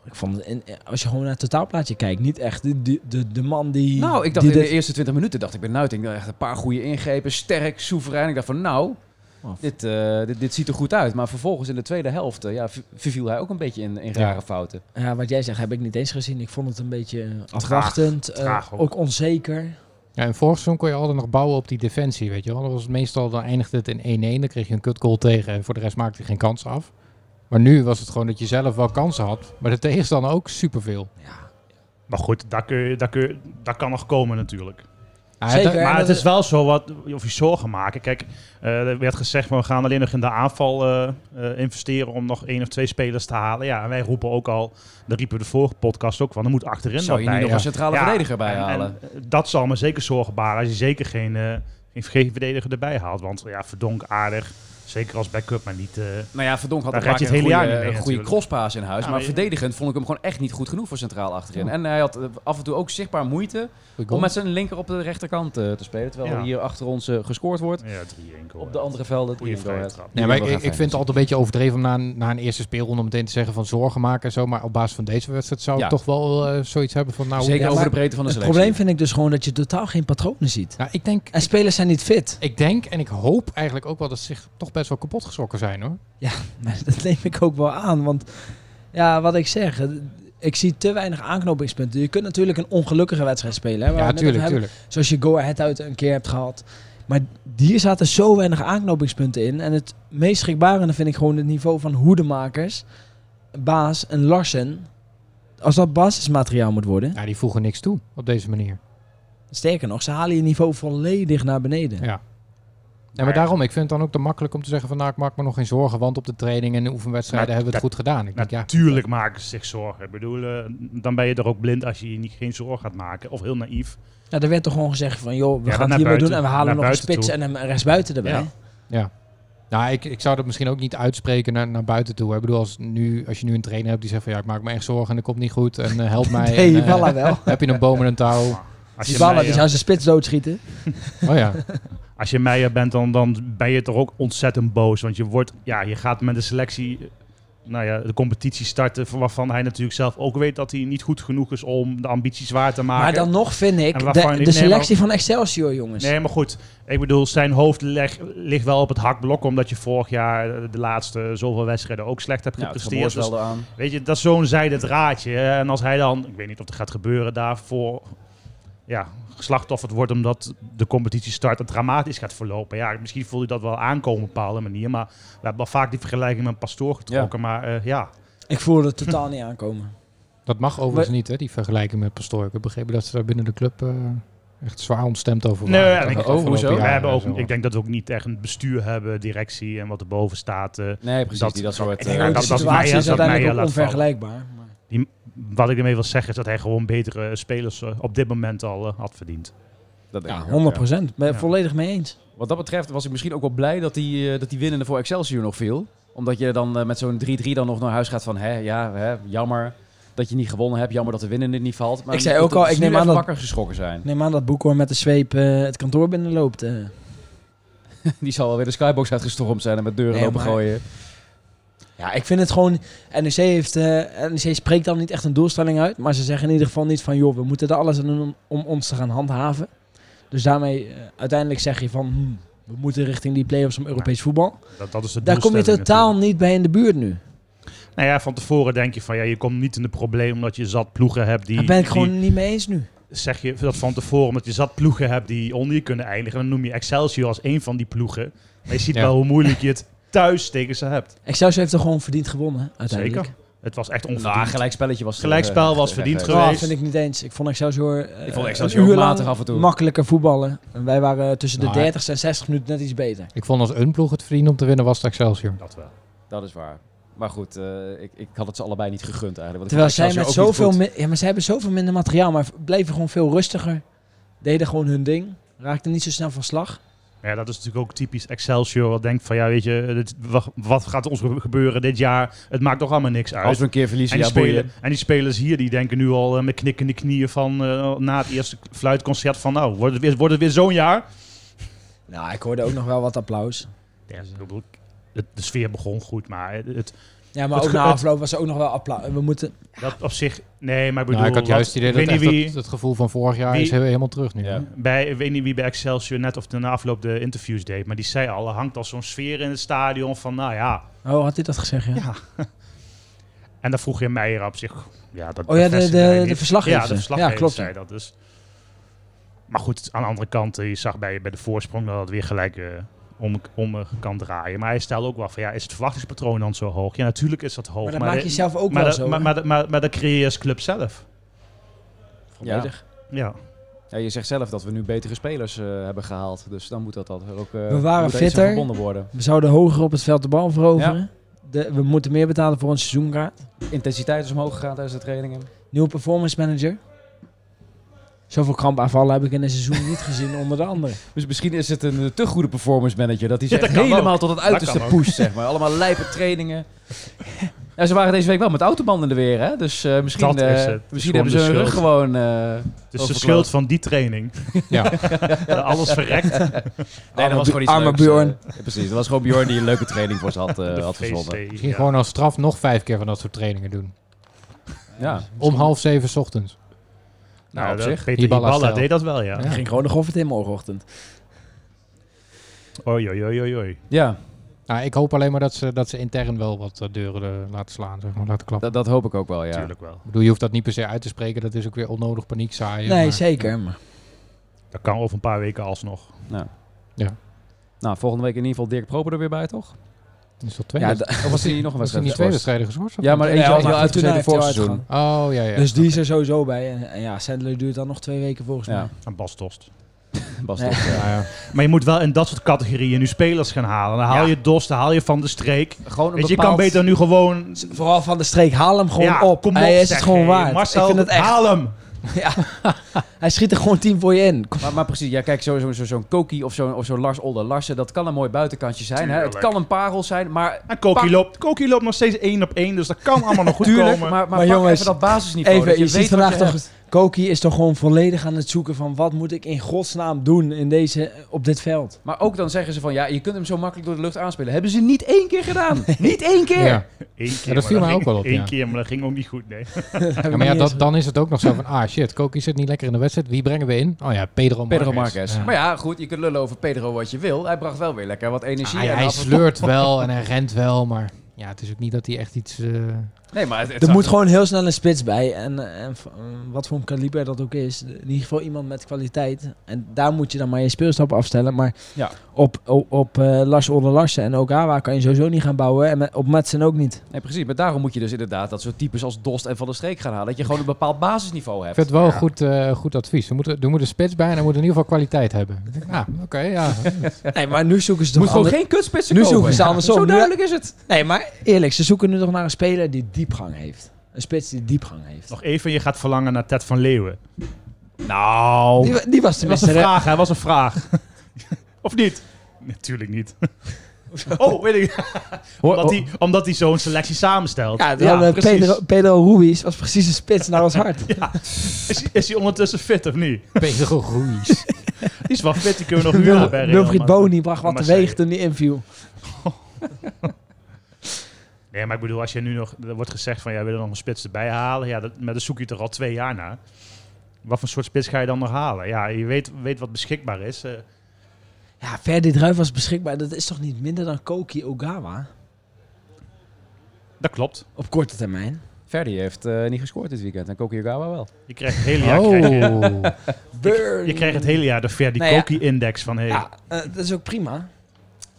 Speaker 5: Ik vond het, en, eh, als je gewoon naar het totaalplaatje kijkt, niet echt de, de, de, de man die...
Speaker 2: Nou, ik dacht
Speaker 5: die
Speaker 2: in de
Speaker 5: dit-
Speaker 2: eerste 20 minuten, dacht ik bij Nuiting, eh, echt een paar goede ingrepen, sterk, soeverein. Ik dacht van nou,
Speaker 5: Oh.
Speaker 2: dit, eh, dit, dit ziet er goed uit. Maar vervolgens in de tweede helft eh, ja, v- verviel hij ook een beetje in, in rare
Speaker 4: Ja.
Speaker 2: fouten.
Speaker 5: Ja, wat jij zegt heb ik niet eens gezien. Ik vond het een beetje eh, afwachtend, eh,
Speaker 3: traag ook.
Speaker 5: ook. onzeker.
Speaker 4: ja, in vorig seizoen kon je altijd nog bouwen op die defensie, weet je wel. Dan was het meestal, dan eindigde het in 1-1, dan kreeg je een kutgoal tegen en voor de rest maakte je geen kans af. Maar nu was het gewoon dat je zelf wel kansen had, maar de tegenstander ook superveel.
Speaker 3: Maar goed, daar, kun je, daar, kun je, daar kan nog komen natuurlijk.
Speaker 4: Ah,
Speaker 5: Zeker.
Speaker 4: dat-
Speaker 5: Ja,
Speaker 3: maar
Speaker 5: dat
Speaker 3: het is
Speaker 5: is-
Speaker 3: wel zo wat, of je zorgen maken. Kijk, eh, er werd gezegd, we gaan alleen nog in de aanval eh, eh, investeren om nog één of twee spelers te halen. Ja, en wij roepen ook al, dat riepen we de vorige podcast ook, want er moet achterin
Speaker 2: Zou
Speaker 3: wat
Speaker 2: je niet
Speaker 3: bij.
Speaker 2: nog
Speaker 4: ja.
Speaker 2: een centrale
Speaker 3: Ja,
Speaker 2: verdediger bij
Speaker 3: En-
Speaker 2: halen?
Speaker 3: en, eh, dat zal me zeker zorgen baren als je zeker geen, eh geen, geen verdediger erbij haalt. Want ja, verdonk aardig, zeker als backup, maar niet... eh,
Speaker 2: Nou ja, Verdonk had
Speaker 3: Daar
Speaker 2: een paar
Speaker 3: gaat je
Speaker 2: keer
Speaker 3: het
Speaker 2: een goede,
Speaker 3: hele jaar niet mee
Speaker 2: een goede
Speaker 3: natuurlijk.
Speaker 2: crosspaas in huis.
Speaker 3: Ja,
Speaker 2: maar
Speaker 3: maar je-
Speaker 2: verdedigend vond ik hem gewoon echt niet goed genoeg voor centraal achterin. En hij had eh, af en toe ook zichtbaar moeite
Speaker 4: Goeie goal.
Speaker 2: om met zijn linker op de rechterkant eh, te spelen. Terwijl
Speaker 3: Ja.
Speaker 2: er hier achter ons eh, gescoord wordt.
Speaker 3: ja, 3-1 goal.
Speaker 2: Op de andere velden.
Speaker 3: Goeie
Speaker 2: Die
Speaker 3: vrije
Speaker 2: Go
Speaker 3: trap.
Speaker 2: Ahead.
Speaker 4: Nee, maar ik,
Speaker 2: Die
Speaker 4: ik
Speaker 2: Go Ahead
Speaker 4: vind het altijd een beetje overdreven om na een, na een eerste speelronde meteen te zeggen van zorgen maken en zo. Maar op basis van deze wedstrijd zou
Speaker 2: Ja.
Speaker 4: ik toch wel eh, zoiets hebben van nou...
Speaker 2: Zeker
Speaker 5: Ja,
Speaker 2: over
Speaker 5: maar
Speaker 2: de breedte van de
Speaker 5: Het
Speaker 2: selectie.
Speaker 5: probleem vind ik dus gewoon dat je totaal geen patronen ziet.
Speaker 4: Nou, ik denk,
Speaker 5: En spelers zijn niet fit.
Speaker 4: ik denk en ik hoop eigenlijk ook wel dat ze zich toch best wel kapot geschrokken zijn hoor.
Speaker 5: Maar dat neem ik ook wel aan. Want ja, wat ik zeg, eh, ik zie te weinig aanknopingspunten. Je kunt natuurlijk een ongelukkige wedstrijd spelen. Hè, waar we
Speaker 4: Ja,
Speaker 5: het net over
Speaker 4: tuurlijk,
Speaker 5: hebben.
Speaker 4: tuurlijk.
Speaker 5: Zoals je Go Ahead uit een keer hebt gehad. Maar hier zaten zo weinig aanknopingspunten in. En het meest schrikbarende vind ik gewoon het niveau van hoedemakers, Baas en Larsen. Als dat basismateriaal moet worden.
Speaker 4: Ja, die voegen niks toe op deze manier.
Speaker 5: Sterker nog, ze halen je niveau volledig naar beneden.
Speaker 4: Ja. Ja, maar daarom, ik vind het dan ook te makkelijk om te zeggen van nou ik maak me nog geen zorgen. Want op de training en de oefenwedstrijden
Speaker 3: Maar
Speaker 4: hebben we het goed gedaan. Ik denk, ja,
Speaker 3: Natuurlijk maken ze zich zorgen. Ik bedoel, eh, dan ben je er ook blind als je je niet, geen zorgen gaat maken. Of heel naïef.
Speaker 5: Nou, er werd toch gewoon gezegd van, joh, we
Speaker 3: Ja,
Speaker 5: gaan
Speaker 3: naar
Speaker 5: het hiermee
Speaker 3: buiten.
Speaker 5: doen en we halen
Speaker 3: Naar
Speaker 5: nog een
Speaker 3: buiten
Speaker 5: spits
Speaker 3: toe.
Speaker 5: en een rechtsbuiten erbij.
Speaker 3: Ja.
Speaker 4: nou, ik, ik zou dat misschien ook niet uitspreken naar, naar buiten toe. hè. Ik bedoel, als, nu, als je nu een trainer hebt die zegt van ja ik maak me echt zorgen en dat komt niet goed. En eh, help mij.
Speaker 5: Hey,
Speaker 4: en, eh,
Speaker 5: Walla wel.
Speaker 4: heb je een boom en een touw?
Speaker 3: Als
Speaker 5: Die
Speaker 3: je,
Speaker 5: Walla, die
Speaker 3: meier,
Speaker 5: zou zijn spits doodschieten.
Speaker 4: Oh ja.
Speaker 3: als je meier bent, dan, dan ben je toch ook ontzettend boos. Want je, wordt, ja, je gaat met de selectie eh, nou ja, de competitie starten... van waarvan hij natuurlijk zelf ook weet dat hij niet goed genoeg is... om de ambities waar te maken.
Speaker 5: Maar dan nog vind ik
Speaker 3: Ah, En waarvan
Speaker 5: de,
Speaker 3: ik
Speaker 5: de
Speaker 3: neem
Speaker 5: selectie van Excelsior, jongens.
Speaker 2: Dus-
Speaker 3: Nee, maar goed. Ik bedoel, zijn hoofd leg- ligt wel op het hakblok... omdat je vorig jaar eh, de laatste zoveel wedstrijden ook slecht hebt
Speaker 2: Ja, Nou, het
Speaker 3: gepresteerd.
Speaker 2: gemoord
Speaker 3: Dus
Speaker 2: wel aan.
Speaker 3: Weet je, dat is zo'n zijde draadje. hè. En als hij dan, ik weet niet of dat gaat gebeuren, daarvoor ja, geslachtofferd wordt omdat de competitie start en dramatisch gaat verlopen. Ja, misschien voel je dat wel aankomen op een bepaalde manier. Maar we hebben wel vaak die vergelijking met Pastoor getrokken. Maar eh, ja,
Speaker 5: Ik voelde het totaal niet aankomen.
Speaker 4: Dat mag overigens niet, hè, die vergelijking met Pastoor. Ik heb begrepen dat ze daar binnen de club eh, echt zwaar ontstemd over
Speaker 3: Nee,
Speaker 4: waren.
Speaker 3: ja,
Speaker 4: Toch
Speaker 3: ik-
Speaker 4: de
Speaker 2: oh,
Speaker 4: afgelopen
Speaker 2: hoezo? We
Speaker 3: we
Speaker 4: jaren
Speaker 3: hebben
Speaker 4: en
Speaker 3: ook,
Speaker 4: zo.
Speaker 3: ik denk dat we ook niet echt een bestuur hebben, directie en wat erboven staat. eh,
Speaker 2: Nee, precies.
Speaker 3: Dat-
Speaker 2: die dat soort...
Speaker 5: Ik
Speaker 2: eh,
Speaker 5: denk ook
Speaker 3: dat-
Speaker 5: de
Speaker 3: dat
Speaker 5: situatie
Speaker 3: Meijer-
Speaker 5: is
Speaker 3: dat
Speaker 5: uiteindelijk ook
Speaker 3: Meijer laat vallen.
Speaker 5: onvergelijkbaar. Maar
Speaker 3: wat ik ermee wil zeggen is dat hij gewoon betere spelers eh, op dit moment al eh, had verdiend.
Speaker 2: dat denk
Speaker 5: ja,
Speaker 2: ik
Speaker 5: 100%.
Speaker 2: ook, ja.
Speaker 5: Ah, Ben je
Speaker 3: Ja.
Speaker 5: volledig mee eens.
Speaker 2: Wat dat betreft was ik misschien ook wel blij dat die, eh, dat die winnende voor Excelsior nog viel. Omdat je dan eh, met zo'n 3-3 dan nog naar huis gaat van... Hè, ja, hè, jammer dat je niet gewonnen hebt. Jammer dat de winnende niet valt. Maar
Speaker 5: Ik zei
Speaker 2: dat-
Speaker 5: ook al,
Speaker 2: dat ze
Speaker 5: ik
Speaker 2: nu
Speaker 5: neem
Speaker 2: even
Speaker 5: aan dat-
Speaker 2: wakker geschrokken zijn.
Speaker 5: Ik neem aan dat Boekhoorn met de zweep eh, het kantoor binnenloopt. eh.
Speaker 2: die zal wel weer de skybox uitgestormd zijn en met deuren
Speaker 5: Nee,
Speaker 2: lopen
Speaker 5: maar-
Speaker 2: gooien.
Speaker 5: Ja, ik vind het gewoon... NEC, heeft, eh, NEC spreekt dan niet echt een doelstelling uit. Maar ze zeggen in ieder geval niet van... joh, we moeten er alles aan doen om, om ons te gaan handhaven. Dus daarmee eh, uiteindelijk zeg je van... hmm, we moeten richting die play-offs om Europees voetbal.
Speaker 3: Dat, dat is de
Speaker 5: Daar kom je
Speaker 3: doelstelling
Speaker 5: totaal
Speaker 3: natuurlijk.
Speaker 5: niet bij in de buurt nu.
Speaker 3: Nou ja, van tevoren denk je van ja, je komt niet in de probleem omdat je zat ploegen hebt die.
Speaker 5: Daar ben ik
Speaker 3: die-
Speaker 5: gewoon niet mee eens nu.
Speaker 3: zeg je dat van tevoren, omdat je zat ploegen hebt die onder je kunnen eindigen. Dan noem je Excelsior als één van die ploegen. Maar je ziet
Speaker 4: Ja.
Speaker 3: wel hoe moeilijk je het thuis tegen ze hebt.
Speaker 5: Excelsior heeft er gewoon verdiend gewonnen, hè, uiteindelijk.
Speaker 3: Zeker. Het was echt
Speaker 2: Nou,
Speaker 3: onverdiend.
Speaker 2: gelijkspelletje was het,
Speaker 3: Gelijkspel
Speaker 2: eh,
Speaker 3: was
Speaker 2: eh,
Speaker 3: verdiend
Speaker 2: eh,
Speaker 3: geweest.
Speaker 5: Dat vind ik niet eens. Ik vond Excelsior, eh,
Speaker 2: Ik vond Excelsior
Speaker 5: een uur
Speaker 2: ook
Speaker 5: lang
Speaker 2: matig af en toe.
Speaker 5: makkelijker voetballen. En wij waren tussen de
Speaker 4: Maar-
Speaker 5: 30 en 60 minuten net iets beter.
Speaker 4: Ik vond als een ploeg het verdiend om te winnen was het Excelsior.
Speaker 3: Dat wel.
Speaker 2: Dat is waar. Maar goed, eh, ik, ik had het ze allebei niet gegund eigenlijk. Want ik
Speaker 5: Terwijl
Speaker 2: vond
Speaker 5: zij met
Speaker 2: Excelsior ook niet
Speaker 5: zoveel
Speaker 2: goed.
Speaker 5: min- ja, maar zij hebben zoveel minder materiaal, maar bleven gewoon veel rustiger. Deden gewoon hun ding. Raakten niet zo snel van slag.
Speaker 3: Ja, dat is natuurlijk ook typisch Excelsior. Wat denkt van ja, weet je, dit, wa- wat gaat ons gebeuren dit jaar? Het maakt toch allemaal niks uit.
Speaker 2: Als we een keer verliezen,
Speaker 3: en, die
Speaker 2: ja, boeien.
Speaker 3: spelen, en die spelers hier, die denken nu al eh, met knikkende knieën van eh, na het eerste fluitconcert van nou, wordt het weer, wordt het weer zo'n jaar?
Speaker 5: Nou, ik hoorde ook nog wel wat applaus.
Speaker 3: Ja, ik bedoel, het- de sfeer begon goed, maar het,
Speaker 5: Ja, maar
Speaker 3: Het
Speaker 5: ook
Speaker 3: ge-
Speaker 5: na
Speaker 3: het-
Speaker 5: afloop was er ook nog wel applaus. We moeten...
Speaker 3: dat op zich, nee, maar ik bedoel,
Speaker 4: Nou, ik had juist het
Speaker 3: wat-
Speaker 4: idee dat
Speaker 3: ik weet
Speaker 4: echt
Speaker 3: niet wie,
Speaker 4: het, het gevoel van vorig jaar
Speaker 3: wie-
Speaker 4: is he- helemaal terug nu.
Speaker 2: Ja.
Speaker 3: bij, ik weet niet wie bij Excelsior net of na afloop de interviews deed, maar die zei al, er hangt al zo'n sfeer in het stadion van nou ja.
Speaker 5: Oh, had hij dat gezegd, ja?
Speaker 3: En dan vroeg je Meijer op zich, ja, dat
Speaker 5: Oh ja, de-
Speaker 3: bevestigde
Speaker 5: de-
Speaker 3: hij
Speaker 5: de
Speaker 3: niet.
Speaker 5: verslaggever.
Speaker 3: Ja, de
Speaker 5: Ja,
Speaker 3: verslaggever
Speaker 5: klopt,
Speaker 3: zei
Speaker 5: ja.
Speaker 3: dat dus. Maar goed, aan de andere kant, eh, je zag bij, bij de voorsprong dat het weer gelijk eh, om, om eh, kan draaien. Maar hij stelde ook wel van, ja, is het verwachtingspatroon dan zo hoog? Ja, natuurlijk is dat hoog.
Speaker 5: Maar dat maak
Speaker 3: de-
Speaker 5: je zelf ook
Speaker 3: maar
Speaker 5: wel
Speaker 3: dat-
Speaker 5: zo.
Speaker 3: Maar,
Speaker 5: hè?
Speaker 3: maar, dat- maar, maar dat creëer je als club zelf.
Speaker 2: Ja.
Speaker 3: Ja.
Speaker 2: Ja, je zegt zelf dat we nu betere spelers eh, hebben gehaald. Dus dan moet dat, dat er ook eh,
Speaker 5: We waren
Speaker 2: moet er iets aan
Speaker 5: fitter.
Speaker 2: verbonden worden.
Speaker 5: We zouden hoger op het veld de bal veroveren. De, we moeten meer betalen voor onze seizoenkaart.
Speaker 2: Intensiteit is omhoog gegaan tijdens de trainingen.
Speaker 5: Nieuwe performance manager. Zoveel krampaanvallen heb ik in een seizoen niet gezien onder de anderen.
Speaker 2: Dus misschien is het een eh, te goede performance manager. Dat hij ze
Speaker 3: Ja,
Speaker 2: echt
Speaker 3: dat kan
Speaker 2: helemaal tot het uiterste
Speaker 3: kan ook.
Speaker 2: pusht, zeg maar. Allemaal lijpe trainingen. Ja, ze waren deze week wel met autobanden er weer, hè? Dus eh, misschien,
Speaker 3: Dat is
Speaker 2: eh,
Speaker 3: het. Het is
Speaker 2: misschien
Speaker 3: gewoon
Speaker 2: hebben ze
Speaker 3: de
Speaker 2: hun rug
Speaker 3: schuld.
Speaker 2: gewoon... eh,
Speaker 3: Dus de
Speaker 2: Overklapt.
Speaker 3: schuld van die training.
Speaker 4: Ja.
Speaker 3: Dat Alles verrekt.
Speaker 2: nee, dat was gewoon iets
Speaker 5: arme
Speaker 2: leuks, eh.
Speaker 5: Bjorn.
Speaker 2: Ja, precies, dat was gewoon Bjorn die een leuke training voor ze had, eh,
Speaker 3: De
Speaker 2: had verzonnen.
Speaker 3: feestday,
Speaker 4: Misschien
Speaker 3: ja.
Speaker 4: gewoon als straf nog vijf keer van dat soort trainingen doen.
Speaker 2: Ja,
Speaker 4: Om half zeven 's ochtends.
Speaker 3: Nou,
Speaker 2: nou, op
Speaker 3: dat-
Speaker 2: zich.
Speaker 3: Peter
Speaker 4: Hiballa
Speaker 3: Hiballa
Speaker 4: stijl.
Speaker 3: deed dat wel, ja.
Speaker 4: Ja.
Speaker 5: Ging gewoon de goffert in morgenochtend.
Speaker 3: Oei, oei, oei, oei, oei.
Speaker 2: Ja,
Speaker 4: Nou, ik hoop alleen maar dat ze, dat ze intern wel wat eh, deuren eh, laten slaan, zeg maar, laten klappen.
Speaker 2: dat, dat hoop ik ook wel, ja.
Speaker 3: Natuurlijk wel.
Speaker 4: Ik bedoel, je hoeft dat niet per se uit te spreken. Dat is ook weer onnodig paniek zaaien.
Speaker 5: nee,
Speaker 4: maar-
Speaker 5: zeker. Maar
Speaker 3: Dat kan over een paar weken alsnog.
Speaker 2: Nou, volgende week in ieder geval Dirk Proper er weer bij, toch?
Speaker 4: Is dat twee?
Speaker 5: Ja,
Speaker 4: wedstrijden?
Speaker 2: Of was hij nog een
Speaker 4: was er
Speaker 2: wedstrijd?
Speaker 4: niet twee
Speaker 2: geschorst?
Speaker 4: wedstrijden geschorst? of
Speaker 2: Ja, maar
Speaker 4: niet?
Speaker 2: eentje
Speaker 5: Nee,
Speaker 2: had
Speaker 5: maar
Speaker 2: hij al
Speaker 5: toen hij
Speaker 2: uitgezeten
Speaker 5: heeft hij
Speaker 2: voor
Speaker 5: al
Speaker 2: het seizoen.
Speaker 5: uitgegaan.
Speaker 4: Oh, ja, ja.
Speaker 5: dus die is er sowieso bij. En, en ja, Sandler duurt dan nog twee weken volgens
Speaker 2: Ja.
Speaker 5: mij.
Speaker 3: Aan Bas Dost.
Speaker 2: Bas
Speaker 5: Nee.
Speaker 2: Dost, ja.
Speaker 4: Ja, ja.
Speaker 3: Maar je moet wel in dat soort categorieën nu spelers gaan halen. Dan haal
Speaker 2: Ja.
Speaker 3: je Dost, dan haal je Van de Streek.
Speaker 2: Gewoon een
Speaker 3: Weet je, je kan
Speaker 2: bepaald-
Speaker 3: beter nu gewoon...
Speaker 5: Vooral van de streek, haal hem gewoon
Speaker 3: Ja,
Speaker 5: op.
Speaker 3: kom
Speaker 5: hij is
Speaker 3: zeg,
Speaker 5: het gewoon
Speaker 3: hey,
Speaker 5: waard.
Speaker 3: Marcel,
Speaker 5: ik vind het echt.
Speaker 3: haal hem!
Speaker 5: Hij schiet er gewoon tien voor je in. Kom.
Speaker 2: Maar, maar precies, ja, kijk, zo'n zo, zo, zo'n Koki of zo'n of zo'n Lars Olde Larsen, dat kan een mooi buitenkantje zijn. Hè? Het
Speaker 3: Tuurlijk.
Speaker 2: kan een parel zijn, maar
Speaker 3: En Koki
Speaker 2: Pak.
Speaker 3: loopt, Koki loopt nog steeds één op één, dus dat kan allemaal nog goed
Speaker 2: tuurlijk, maar,
Speaker 3: komen.
Speaker 2: maar, pak
Speaker 5: jongens,
Speaker 2: even dat basisniveau.
Speaker 5: Even,
Speaker 2: dat
Speaker 5: je,
Speaker 2: je,
Speaker 5: ziet
Speaker 2: weet wat
Speaker 5: vandaag
Speaker 2: je
Speaker 5: toch.
Speaker 2: hebt.
Speaker 5: Koki is toch gewoon volledig aan het zoeken van wat moet ik in godsnaam doen in deze, op dit veld.
Speaker 2: Maar ook dan zeggen ze van, ja, je kunt hem zo makkelijk door de lucht aanspelen. Hebben ze niet één keer gedaan. niet één keer.
Speaker 4: Ja.
Speaker 3: Eén keer,
Speaker 4: dat
Speaker 3: maar
Speaker 4: viel mij
Speaker 3: ging-
Speaker 4: ook wel op,
Speaker 3: één
Speaker 4: ja.
Speaker 3: keer, maar dat ging ook niet goed, nee.
Speaker 4: Ja, maar ja, dat, dan is het ook nog zo van, ah shit, Koki zit niet lekker in de wedstrijd. Wie brengen we in? Oh ja, Pedro Marques.
Speaker 2: Pedro Marquez.
Speaker 4: Ja.
Speaker 2: Maar ja, goed, je kunt lullen over Pedro wat je wil. Hij bracht wel weer lekker wat energie.
Speaker 4: hij
Speaker 2: en
Speaker 4: Ah, hij
Speaker 2: af en toe-
Speaker 4: sleurt wel en hij rent wel, maar ja, het is ook niet dat hij echt iets... eh,
Speaker 2: Nee, maar het, het
Speaker 5: Er
Speaker 2: zag-
Speaker 5: moet gewoon heel snel een spits bij. En, eh, en v- eh, wat voor een kaliber dat ook is. In ieder geval iemand met kwaliteit. En daar moet je dan maar je speelstap afstellen. Maar
Speaker 2: Ja.
Speaker 5: op, op, op eh, Lars Older Larsen en Ogawa kan je sowieso niet gaan bouwen. En met, op Madsen ook niet.
Speaker 2: Nee, precies. Maar daarom moet je dus inderdaad dat soort types als Dost en Van der Streek gaan halen. Dat je gewoon een bepaald basisniveau
Speaker 4: ik
Speaker 2: hebt.
Speaker 4: vind het wel een goed, eh, goed advies. Er moet, er moet een spits bij en hij moet in ieder geval kwaliteit hebben. Ik denk, Ah, oké, ja.
Speaker 5: Nee, maar nu zoeken ze
Speaker 2: Je
Speaker 5: toch
Speaker 2: moet gewoon
Speaker 5: ander-
Speaker 2: geen kutspitsen
Speaker 5: Nu
Speaker 2: kopen.
Speaker 5: zoeken ze andersom.
Speaker 2: Zo
Speaker 5: Nu-
Speaker 2: duidelijk is het.
Speaker 5: Nee, maar eerlijk, ze zoeken nu toch naar een speler die diepgang heeft. Een spits die diepgang heeft.
Speaker 3: Nog even, je gaat verlangen naar Ted van Leeuwen. Nou,
Speaker 5: Die, wa- die was
Speaker 3: dat was
Speaker 5: tenminste...
Speaker 3: een
Speaker 5: re-
Speaker 3: vraag, hij was een vraag. of niet? Natuurlijk niet. oh, weet ik. omdat, hij, omdat hij zo'n selectie samenstelt.
Speaker 5: Ja, dan, eh,
Speaker 3: precies.
Speaker 5: Pedro, Pedro Ruiz was precies een spits naar ons hart.
Speaker 3: Is, is hij ondertussen fit of niet?
Speaker 4: Oh. Pedro Ruiz.
Speaker 3: Die is wel fit, die kunnen we nog huren
Speaker 5: Wil,
Speaker 3: bij Real
Speaker 5: Wilfried
Speaker 3: Madrid.
Speaker 5: Boni bracht wat
Speaker 3: Maar
Speaker 5: teweeg
Speaker 3: zij-
Speaker 5: toen die inviel.
Speaker 3: Nee, maar ik bedoel, als je nu nog... Er wordt gezegd van, ja, we willen nog een spits erbij halen. Ja, dat, maar dan zoek je het er al twee jaar naar. Wat voor soort spits ga je dan nog halen? Ja, je weet, weet wat beschikbaar is. Eh,
Speaker 5: Ja, Ferdi Druif was beschikbaar. Dat is toch niet minder dan Koki Ogawa?
Speaker 3: dat klopt.
Speaker 5: Op korte termijn.
Speaker 2: Verdi heeft eh, niet gescoord dit weekend en Koki Ogawa wel.
Speaker 3: Je krijgt het hele jaar, krijg je,
Speaker 4: Oh,
Speaker 5: Burn.
Speaker 3: je krijgt het hele jaar de Verdi
Speaker 5: Nou ja.
Speaker 3: Koki-index van... Hey,
Speaker 5: Ja, eh, dat is ook prima.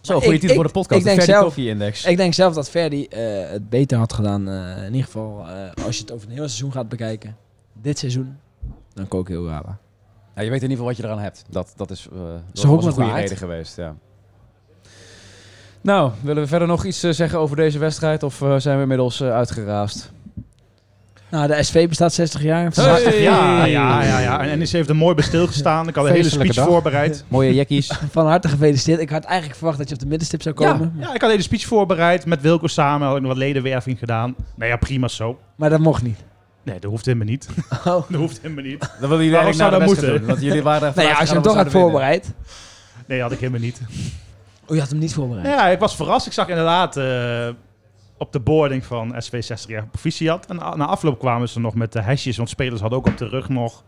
Speaker 2: Zo,
Speaker 5: Maar
Speaker 2: goede
Speaker 5: ik-
Speaker 2: titel voor
Speaker 5: ik-
Speaker 2: de podcast.
Speaker 5: ik denk
Speaker 2: de
Speaker 5: zelf-
Speaker 2: Koki Index.
Speaker 5: Ik denk zelf dat Verdi eh, het beter had gedaan. eh, in ieder geval, eh, als je het over het hele seizoen gaat bekijken. Dit seizoen. Dan Koki Ogawa.
Speaker 2: Ja, je weet in ieder geval wat je eraan hebt. Dat, dat is, eh dat
Speaker 5: Is
Speaker 2: was
Speaker 5: ook
Speaker 2: een
Speaker 5: wat
Speaker 2: goede
Speaker 5: waard.
Speaker 2: reden geweest, ja. Nou, willen we verder nog iets eh, zeggen over deze wedstrijd? Of eh, zijn we inmiddels eh, uitgeraasd?
Speaker 5: Nou, de SV bestaat 60 jaar.
Speaker 2: Hey!
Speaker 5: Vandaag-
Speaker 3: Ja, ja, ja, ja. En NEC heeft er mooi bij stilgestaan. Ik had een hele
Speaker 4: Feestelijke
Speaker 3: speech
Speaker 4: dag.
Speaker 3: voorbereid.
Speaker 2: Mooie jekkies.
Speaker 5: Van harte gefeliciteerd. Ik had eigenlijk verwacht dat je op de middenstip zou komen.
Speaker 3: Ja, ja, ik had een hele speech voorbereid. Met Wilco samen had ik nog wat ledenwerving gedaan. Nou ja, prima zo.
Speaker 5: Maar dat mocht niet.
Speaker 3: Nee, dat hoeft helemaal niet.
Speaker 5: Oh.
Speaker 3: Dat hoeft helemaal niet.
Speaker 2: Dan willen jullie eigenlijk
Speaker 3: Waarom
Speaker 2: naar
Speaker 3: zou
Speaker 2: de
Speaker 3: dat
Speaker 2: wedstrijd
Speaker 3: moeten?
Speaker 2: doen. Want jullie waren er
Speaker 5: Nou ja, als je hem toch had voorbereid.
Speaker 3: Nee, had ik helemaal niet.
Speaker 5: Oh, je had hem niet voorbereid.
Speaker 3: Ja, ik was verrast. Ik zag inderdaad eh, op de boarding van SV 60 jaar proficiat. En a- na afloop kwamen ze nog met de hesjes. Want spelers hadden ook op de rug nog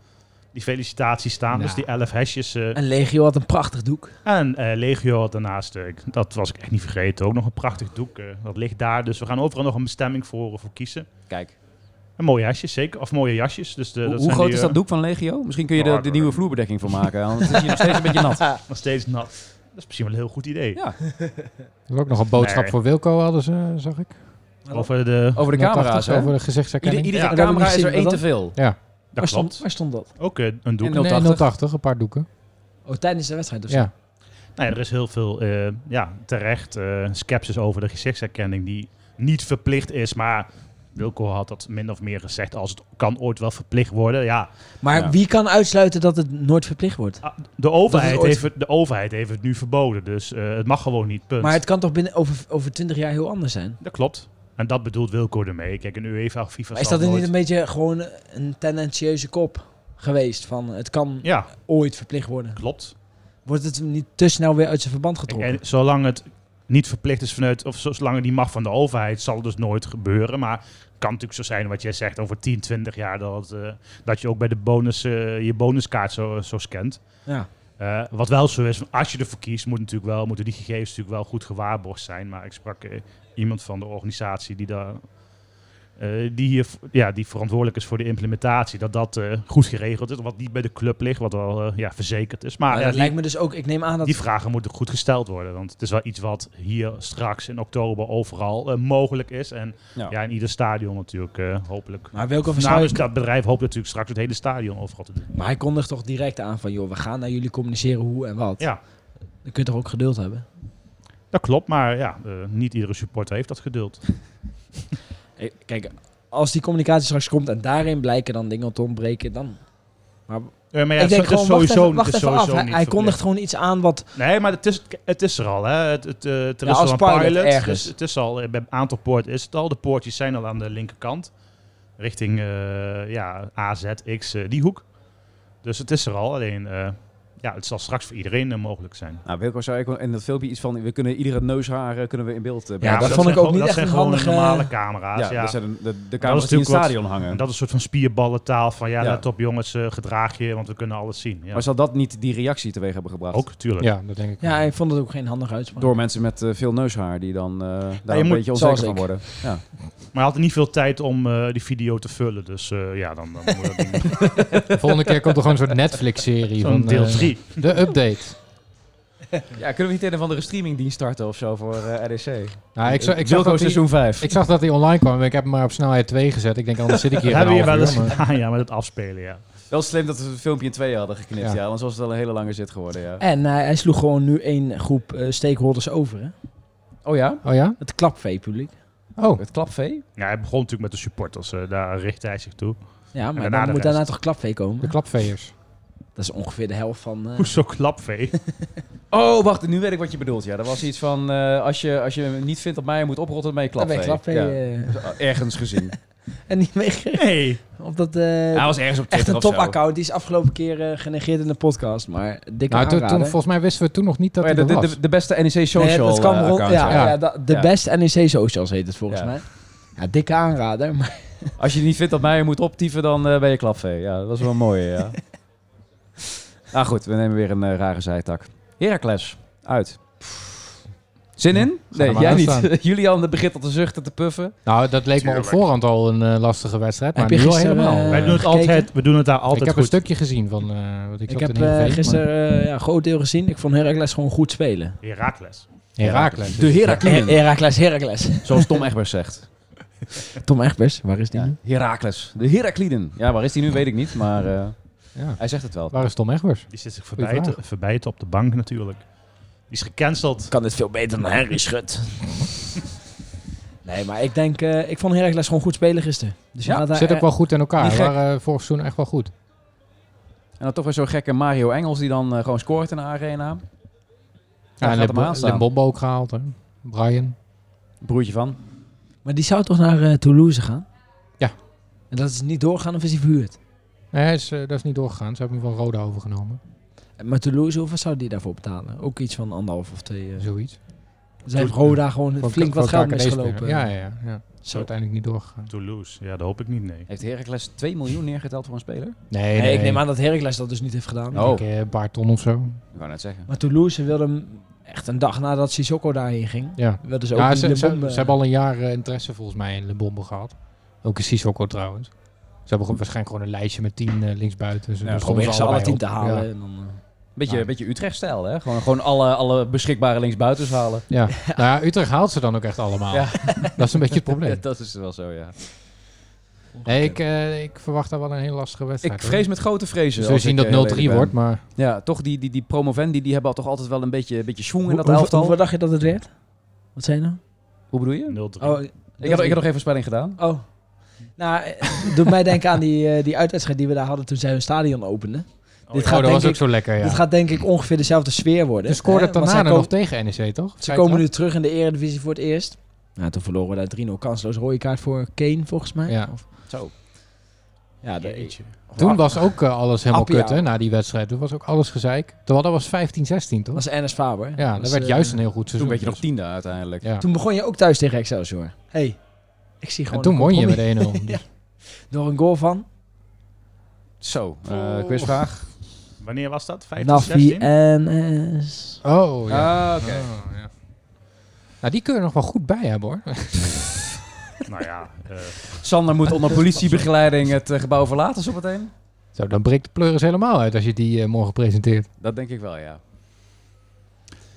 Speaker 3: die felicitaties staan. Dus
Speaker 5: Ja.
Speaker 3: die 11 hesjes. eh,
Speaker 5: En Legio had een prachtig doek.
Speaker 3: En eh, Legio had daarnaast, eh, ik- dat was ik echt niet vergeten, ook nog een prachtig doek. eh, dat ligt daar. Dus we gaan overal nog een bestemming voor, eh, voor kiezen.
Speaker 2: Kijk,
Speaker 3: En mooie jasjes, zeker. Of mooie jasjes. Dus de,
Speaker 2: hoe,
Speaker 3: dat
Speaker 2: hoe
Speaker 3: zijn
Speaker 2: groot
Speaker 3: die,
Speaker 2: is
Speaker 3: eh,
Speaker 2: dat doek van Legio? Misschien kun je
Speaker 3: nou,
Speaker 2: er de
Speaker 3: dat-
Speaker 2: nieuwe vloerbedekking van maken. Want het is hier nog steeds een beetje nat.
Speaker 3: Nog steeds nat. Dat is misschien wel een heel goed idee.
Speaker 2: Ja.
Speaker 4: dat is ook nog een boodschap
Speaker 3: Nee.
Speaker 4: voor Wilco hadden ze, zag ik.
Speaker 3: Over de...
Speaker 2: Over de
Speaker 4: 180
Speaker 2: camera's, hè?
Speaker 4: Over de
Speaker 2: Ieder,
Speaker 4: gezichtsherkenning.
Speaker 2: iedere
Speaker 3: Ja,
Speaker 5: dat heb ik
Speaker 2: camera
Speaker 5: niet
Speaker 2: is er
Speaker 5: gezien,
Speaker 2: één
Speaker 5: wat
Speaker 2: te
Speaker 5: dan?
Speaker 2: veel.
Speaker 3: Dat
Speaker 5: waar, stond,
Speaker 3: klopt.
Speaker 5: waar stond dat?
Speaker 3: Ook eh, een doek.
Speaker 2: En-
Speaker 3: Nou
Speaker 4: Nee,
Speaker 2: 080.
Speaker 4: 080, een paar doeken.
Speaker 5: Oh, tijdens de wedstrijd of zo.
Speaker 4: Ja.
Speaker 3: Nou ja, er is heel veel, eh, ja, terecht, eh sceptisch over de gezichtsherkenning die niet verplicht is. Maar Wilco had dat min of meer gezegd. Als het kan ooit wel verplicht worden. Ja,
Speaker 5: Maar
Speaker 2: Ja.
Speaker 5: wie kan uitsluiten dat het nooit verplicht wordt?
Speaker 3: ah, de overheid,
Speaker 5: ooit-
Speaker 3: heeft, het- de overheid heeft het nu verboden. Dus eh, het mag gewoon niet, punt.
Speaker 5: Maar het kan toch binnen over, over 20 jaar heel anders zijn?
Speaker 3: Dat klopt. En dat bedoelt Wilco ermee. Kijk, een UEFA of FIFA
Speaker 5: Maar is
Speaker 3: zal
Speaker 5: dat dan niet
Speaker 3: nooit-
Speaker 5: een beetje gewoon een tendentieuze kop geweest? Van het kan
Speaker 3: Ja,
Speaker 5: ooit verplicht worden.
Speaker 3: klopt.
Speaker 5: Wordt het niet te snel weer uit zijn verband
Speaker 3: Kijk,
Speaker 5: getrokken?
Speaker 3: en zolang het niet verplicht is vanuit... of zo- zolang het niet mag van de overheid, zal het dus nooit gebeuren. Maar het kan natuurlijk zo zijn wat jij zegt over 10, 20 jaar... dat, eh, dat je ook bij de bonus eh, je bonuskaart zo, zo scant.
Speaker 5: Ja.
Speaker 3: Eh, wat wel zo is, als je ervoor kiest, moet natuurlijk wel, moeten die gegevens natuurlijk wel goed gewaarborgd zijn. Maar ik sprak eh, iemand van de organisatie die daar. eh, die, hier, ja, die verantwoordelijk is voor de implementatie, dat dat eh, goed geregeld is. Wat niet bij de club ligt, wat wel eh, ja, verzekerd is. Maar,
Speaker 5: Maar
Speaker 3: ja,
Speaker 5: dat
Speaker 3: die,
Speaker 5: lijkt me dus ook, ik neem aan dat...
Speaker 3: die vragen moeten goed gesteld worden. Want het is wel iets wat hier straks in oktober overal eh, mogelijk is. En
Speaker 2: Ja.
Speaker 3: ja. in ieder stadion natuurlijk, eh, hopelijk.
Speaker 5: maar Wilco van
Speaker 3: Namens
Speaker 5: Schuik,
Speaker 3: dat bedrijf hoopt natuurlijk straks het hele stadion overal te doen.
Speaker 5: maar hij kondigt toch direct aan van, joh, we gaan naar jullie communiceren hoe en wat.
Speaker 3: Ja.
Speaker 5: Dan kun je toch ook geduld hebben?
Speaker 3: Dat klopt, maar ja, eh, niet iedere supporter heeft dat geduld.
Speaker 5: Eh, Kijk, als die communicatie straks komt en daarin blijken dan dingen te ontbreken, dan...
Speaker 3: Ja, maar ja,
Speaker 5: ik
Speaker 3: het
Speaker 5: denk
Speaker 3: is
Speaker 5: gewoon, wacht
Speaker 3: sowieso, het
Speaker 5: even, wacht
Speaker 3: is
Speaker 5: even af.
Speaker 3: sowieso
Speaker 5: Hij,
Speaker 3: niet
Speaker 5: hij
Speaker 3: verplicht.
Speaker 5: kondigt gewoon iets aan wat...
Speaker 3: Nee, maar het is, het is er al. Hè. Het, het, eh, het er
Speaker 5: Ja,
Speaker 3: is
Speaker 5: als
Speaker 3: al een
Speaker 5: pilot
Speaker 3: pilot.
Speaker 5: ergens.
Speaker 3: dus het is al, eh, bij een aantal poorten is het al. De poortjes zijn al aan de linkerkant. Richting eh, ja, AZ, X, eh, die hoek. Dus het is er al. Alleen, eh, ja, het zal straks voor iedereen eh, mogelijk zijn.
Speaker 2: Nou, Wilco zei ook in dat filmpje iets van... we kunnen iedere neushaar eh, kunnen we in beeld eh,
Speaker 5: Ja,
Speaker 2: brengen.
Speaker 5: dat
Speaker 3: maar
Speaker 5: vond
Speaker 3: zijn
Speaker 5: ik ook
Speaker 3: gewoon-
Speaker 5: niet echt
Speaker 3: Dat zijn
Speaker 5: een
Speaker 3: gewoon
Speaker 5: handige-
Speaker 3: normale camera's. Ja,
Speaker 2: Ja, dat zijn de, de, de
Speaker 3: dat
Speaker 2: camera's
Speaker 3: is
Speaker 2: die in het
Speaker 3: natuurlijk
Speaker 2: stadion hangen.
Speaker 3: En dat is een soort van spierballentaal van ja,
Speaker 2: Ja.
Speaker 3: let op jongens, eh, gedraag je, want we kunnen alles zien. Ja.
Speaker 2: Maar zal dat niet die reactie teweeg hebben gebracht?
Speaker 3: Ook, tuurlijk.
Speaker 4: Ja, dat denk ik.
Speaker 5: Ja,
Speaker 4: wel.
Speaker 5: hij vond het ook geen handige uitspraak.
Speaker 2: Door mensen met eh, veel neushaar die dan eh, daar
Speaker 3: je
Speaker 2: een
Speaker 3: moet-
Speaker 2: beetje onzeker
Speaker 5: zoals
Speaker 2: van
Speaker 5: ik.
Speaker 2: worden. Ja.
Speaker 3: Maar hij had niet veel tijd om eh, die video te vullen. Dus eh, ja, dan, dan moet dat niet.
Speaker 4: De volgende keer komt er gewoon een soort Netflix-serie van
Speaker 3: Zo'n deel
Speaker 4: eh,
Speaker 3: 3.
Speaker 4: de update.
Speaker 2: ja, kunnen we niet een of andere streamingdienst starten of zo voor eh RDC?
Speaker 4: Nou, ik, zag- ik, zag
Speaker 2: Wilco
Speaker 4: dat die,
Speaker 2: seizoen 5.
Speaker 4: ik zag dat hij online kwam, maar ik heb hem maar op snelheid 2 gezet. Ik denk, anders zit ik hier
Speaker 3: Dat
Speaker 4: een
Speaker 3: hebben we hier
Speaker 4: half
Speaker 3: wel eens
Speaker 4: uur, maar-
Speaker 3: gedaan, ja, met het afspelen, ja.
Speaker 2: Wel slim dat we het filmpje in tweeën hadden geknipt, ja.
Speaker 4: Ja.
Speaker 2: Anders was het wel een hele lange zit geworden, ja.
Speaker 5: En eh, hij sloeg gewoon nu één groep eh, stakeholders over. Hè?
Speaker 2: Oh ja?
Speaker 4: Oh ja?
Speaker 5: Het klapvee-publiek.
Speaker 4: Oh,
Speaker 2: Het klapvee?
Speaker 3: Ja, hij begon natuurlijk met de supporters, eh, daar richtte hij zich toe.
Speaker 5: Ja, maar
Speaker 3: daarna
Speaker 5: dan
Speaker 3: de
Speaker 5: moet
Speaker 3: rest.
Speaker 5: daarna toch klapvee komen?
Speaker 4: de klapveers. Nou,
Speaker 5: Dat is ongeveer de helft van... eh,
Speaker 3: Hoezo klapvee?
Speaker 2: Oh, wacht, nu weet ik wat je bedoelt, ja. Er was iets van, eh, als, je, als je hem niet vindt dat mij moet oprotten, dan ben je
Speaker 5: dan ben
Speaker 2: klapvee.
Speaker 5: je klapvee.
Speaker 2: Ja.
Speaker 5: eh,
Speaker 2: Ergens gezien.
Speaker 5: en niet meegekregen.
Speaker 3: Nee.
Speaker 5: Omdat
Speaker 6: Hij
Speaker 5: eh
Speaker 6: was ergens op
Speaker 5: echt
Speaker 6: Twitter
Speaker 5: een
Speaker 6: of zo.
Speaker 5: topaccount. Die is afgelopen keer eh, genegeerd in de podcast. Maar dikke
Speaker 4: Nou, toen, toen-
Speaker 5: aanrader.
Speaker 4: volgens mij wisten we toen nog niet dat
Speaker 2: Oh ja,
Speaker 4: hij
Speaker 2: de,
Speaker 4: er
Speaker 2: de,
Speaker 4: was.
Speaker 2: de- de beste NEC social
Speaker 5: Nee, dat kan
Speaker 2: eh,
Speaker 5: rond-
Speaker 2: account
Speaker 5: ja,
Speaker 2: zijn.
Speaker 5: ja.
Speaker 4: ja.
Speaker 5: da- de
Speaker 2: Ja.
Speaker 5: best NEC socials heet het volgens
Speaker 2: Ja.
Speaker 5: mij. Ja, dikke aanrader. Maar
Speaker 2: Als je niet vindt dat mij er moet optieven, dan eh, ben je klapvee. Ja, dat was wel mooi, ja. nou goed, we nemen weer een eh, rare zijtak. Heracles, uit. Zin in?
Speaker 4: er
Speaker 2: Nee,
Speaker 4: maar
Speaker 2: jij
Speaker 4: aan
Speaker 2: niet. Julian begint al te zuchten, te puffen.
Speaker 4: Nou, dat leek me op
Speaker 3: Tuurlijk.
Speaker 4: voorhand al een eh, lastige wedstrijd. Maar
Speaker 5: heb je
Speaker 4: nu al
Speaker 5: gisteren...
Speaker 4: helemaal.
Speaker 5: eh,
Speaker 3: Wij doen het,
Speaker 5: gekeken?
Speaker 3: altijd, we doen het daar altijd
Speaker 4: ik heb
Speaker 3: goed.
Speaker 4: een stukje gezien van eh, wat ik,
Speaker 5: Ik
Speaker 4: zat
Speaker 5: heb
Speaker 4: in
Speaker 5: eh,
Speaker 4: Heerenveen, maar-
Speaker 5: gisteren eh, ja, een groot deel gezien. Ik vond Heracles gewoon goed spelen.
Speaker 3: Herakles.
Speaker 4: Herakles.
Speaker 2: De Heracles.
Speaker 5: Heracles, Heracles.
Speaker 2: Zoals Tom Egbers zegt.
Speaker 5: Tom Egbers, waar is die
Speaker 2: Ja,
Speaker 5: nu?
Speaker 2: Heracles. De Herakliden. Ja, waar is die nu? Weet ik niet, maar eh,
Speaker 4: Ja.
Speaker 2: hij zegt het wel.
Speaker 4: Waar is Tom Egbers?
Speaker 3: Die zit zich
Speaker 4: Goeie
Speaker 3: verbijten,
Speaker 4: vraag.
Speaker 3: verbijten op de bank natuurlijk. Die is gecanceld.
Speaker 5: Kan dit veel beter dan Henry Schut. nee, maar ik denk... eh, ik vond Heracles gewoon goed spelen gisteren. Dus je
Speaker 2: Ja,
Speaker 5: gaat daar-
Speaker 4: Zit ook wel goed in elkaar.
Speaker 2: niet
Speaker 4: We
Speaker 2: gek.
Speaker 4: waren eh, vorig seizoen echt wel goed.
Speaker 2: En dan toch weer zo'n gekke Mario Engels die dan eh, gewoon scoort in de arena.
Speaker 4: Ja,
Speaker 2: gaat
Speaker 4: en
Speaker 2: hem
Speaker 4: Limbo-
Speaker 2: aanstaan.
Speaker 4: Limbombo ook gehaald. Hè? Brian.
Speaker 2: Broertje van.
Speaker 5: Maar die zou toch naar eh, Toulouse gaan?
Speaker 4: Ja.
Speaker 5: En dat is niet doorgaan of is hij verhuurd?
Speaker 4: Nee, hij is, eh, dat is niet doorgegaan. Ze hebben hem van Roda overgenomen.
Speaker 5: Eh, Maar Toulouse, hoeveel zou die daarvoor betalen? Ook iets van anderhalf of twee. eh.
Speaker 4: Zoiets.
Speaker 5: Ze heeft Roda gewoon
Speaker 4: Voor-
Speaker 5: flink wat
Speaker 4: voor
Speaker 5: geld
Speaker 4: KKD speler.
Speaker 5: misgelopen.
Speaker 4: Ja, ja, ja. ja. Is
Speaker 5: Zo.
Speaker 4: uiteindelijk niet doorgegaan.
Speaker 3: Toulouse. Ja, dat hoop ik niet, nee.
Speaker 2: Heeft Heracles 2 miljoen neergeteld voor een speler?
Speaker 4: Nee,
Speaker 5: Nee,
Speaker 4: nee.
Speaker 5: ik neem aan dat Heracles dat dus niet heeft gedaan.
Speaker 2: Oh.
Speaker 4: Ik denk, eh, Barton of zo.
Speaker 2: Ik wou net zeggen.
Speaker 5: Maar Toulouse wilde hem echt een dag nadat Sissoko daarheen ging.
Speaker 4: Ja.
Speaker 5: Wilden ze ook
Speaker 4: Ja,
Speaker 5: die
Speaker 4: ze, ze,
Speaker 5: Lebombe-
Speaker 4: ze hebben al een jaar eh, interesse volgens mij in Limbombo gehad. Ook in Sissoko trouwens. Ze hebben gewoon- waarschijnlijk gewoon een lijstje met tien eh, linksbuiten. Ze
Speaker 2: Ja,
Speaker 4: doen
Speaker 2: proberen
Speaker 5: proberen
Speaker 4: soms
Speaker 5: ze alle
Speaker 4: allebei
Speaker 5: tien
Speaker 4: op.
Speaker 5: te
Speaker 4: Ja.
Speaker 5: halen. En dan, eh,
Speaker 2: Beetje,
Speaker 4: Nou.
Speaker 2: beetje Utrecht-stijl, hè? Gewoon, gewoon alle, alle beschikbare linksbuitens halen.
Speaker 4: Ja. Nou ja, Utrecht haalt ze dan ook echt allemaal.
Speaker 2: Ja.
Speaker 4: Dat is een beetje het
Speaker 2: Ja,
Speaker 4: probleem.
Speaker 2: dat is wel zo, ja.
Speaker 4: Nee, ik, eh, ik verwacht daar wel een hele lastige wedstrijd.
Speaker 2: Ik
Speaker 4: hoor.
Speaker 2: vrees met grote vrezen.
Speaker 4: We zullen
Speaker 2: als
Speaker 4: zien
Speaker 2: ik, eh,
Speaker 4: dat 0-3
Speaker 2: eerlijk ben.
Speaker 4: wordt, maar
Speaker 2: Ja, toch die, die, die promovendi, die hebben al toch altijd wel een beetje, een beetje schwung in
Speaker 5: hoe-
Speaker 2: dat
Speaker 5: hoeveel-
Speaker 2: elftal.
Speaker 5: Hoeveel dacht je dat het werd? Wat zei je nou?
Speaker 2: Hoe bedoel je?
Speaker 3: 0-3.
Speaker 5: Oh,
Speaker 2: Ik had, ik had nog even spelling gedaan.
Speaker 5: Oh. Nou, eh, doet mij denken aan die, eh, die uitwedstrijd die we daar hadden toen zij hun stadion openden.
Speaker 3: Oh,
Speaker 5: dit
Speaker 3: ja.
Speaker 4: oh,
Speaker 5: gaat
Speaker 4: dat
Speaker 5: denk
Speaker 4: was ook
Speaker 5: ik-
Speaker 4: zo lekker, ja.
Speaker 5: Dit gaat denk ik ongeveer dezelfde sfeer worden.
Speaker 4: Ze scoorden
Speaker 5: Hè?
Speaker 4: het
Speaker 5: Want
Speaker 4: daarna
Speaker 5: zij
Speaker 4: nog
Speaker 5: komen-
Speaker 4: tegen NEC, toch?
Speaker 5: Ze komen nu terug in de eredivisie voor het eerst. Nou, toen verloren we daar 3-0 kansloos rode kaart voor Kane, volgens mij.
Speaker 4: Ja.
Speaker 5: Of-
Speaker 2: Zo.
Speaker 5: Ja, de-
Speaker 3: Jeetje.
Speaker 4: Toen was ook eh, alles helemaal
Speaker 5: Appia.
Speaker 4: kut, hè, na die wedstrijd. Toen was ook alles gezeik. Terwijl dat was 15-16,
Speaker 5: dat
Speaker 4: toch?
Speaker 5: was Ernest Faber.
Speaker 4: Ja, dat
Speaker 5: was,
Speaker 4: werd
Speaker 5: eh,
Speaker 4: juist een heel goed
Speaker 2: Toen
Speaker 4: seizoen.
Speaker 2: werd je nog
Speaker 4: dus.
Speaker 2: tiende uiteindelijk.
Speaker 4: Ja.
Speaker 5: Toen begon je ook thuis tegen Excelsior. hey, ik zie
Speaker 4: En
Speaker 5: gewoon...
Speaker 4: toen
Speaker 5: een
Speaker 4: won je met
Speaker 5: compromis.
Speaker 4: 1-0. dus.
Speaker 5: Door een goal van...
Speaker 2: Zo, eh quizvraag.
Speaker 3: Wanneer was dat? 15,
Speaker 4: Nou,
Speaker 5: Navi
Speaker 3: 16?
Speaker 5: en... eh, s-
Speaker 4: Oh, ja.
Speaker 2: Ah, oké.
Speaker 4: Oh, ja. Nou, die kun je nog wel goed bij hebben, hoor.
Speaker 3: Nou ja, eh,
Speaker 2: Sander moet onder politiebegeleiding het eh, gebouw verlaten zo meteen.
Speaker 4: Zo, dan breekt de pleuris helemaal uit als je die eh, morgen presenteert.
Speaker 2: Dat denk ik wel, ja.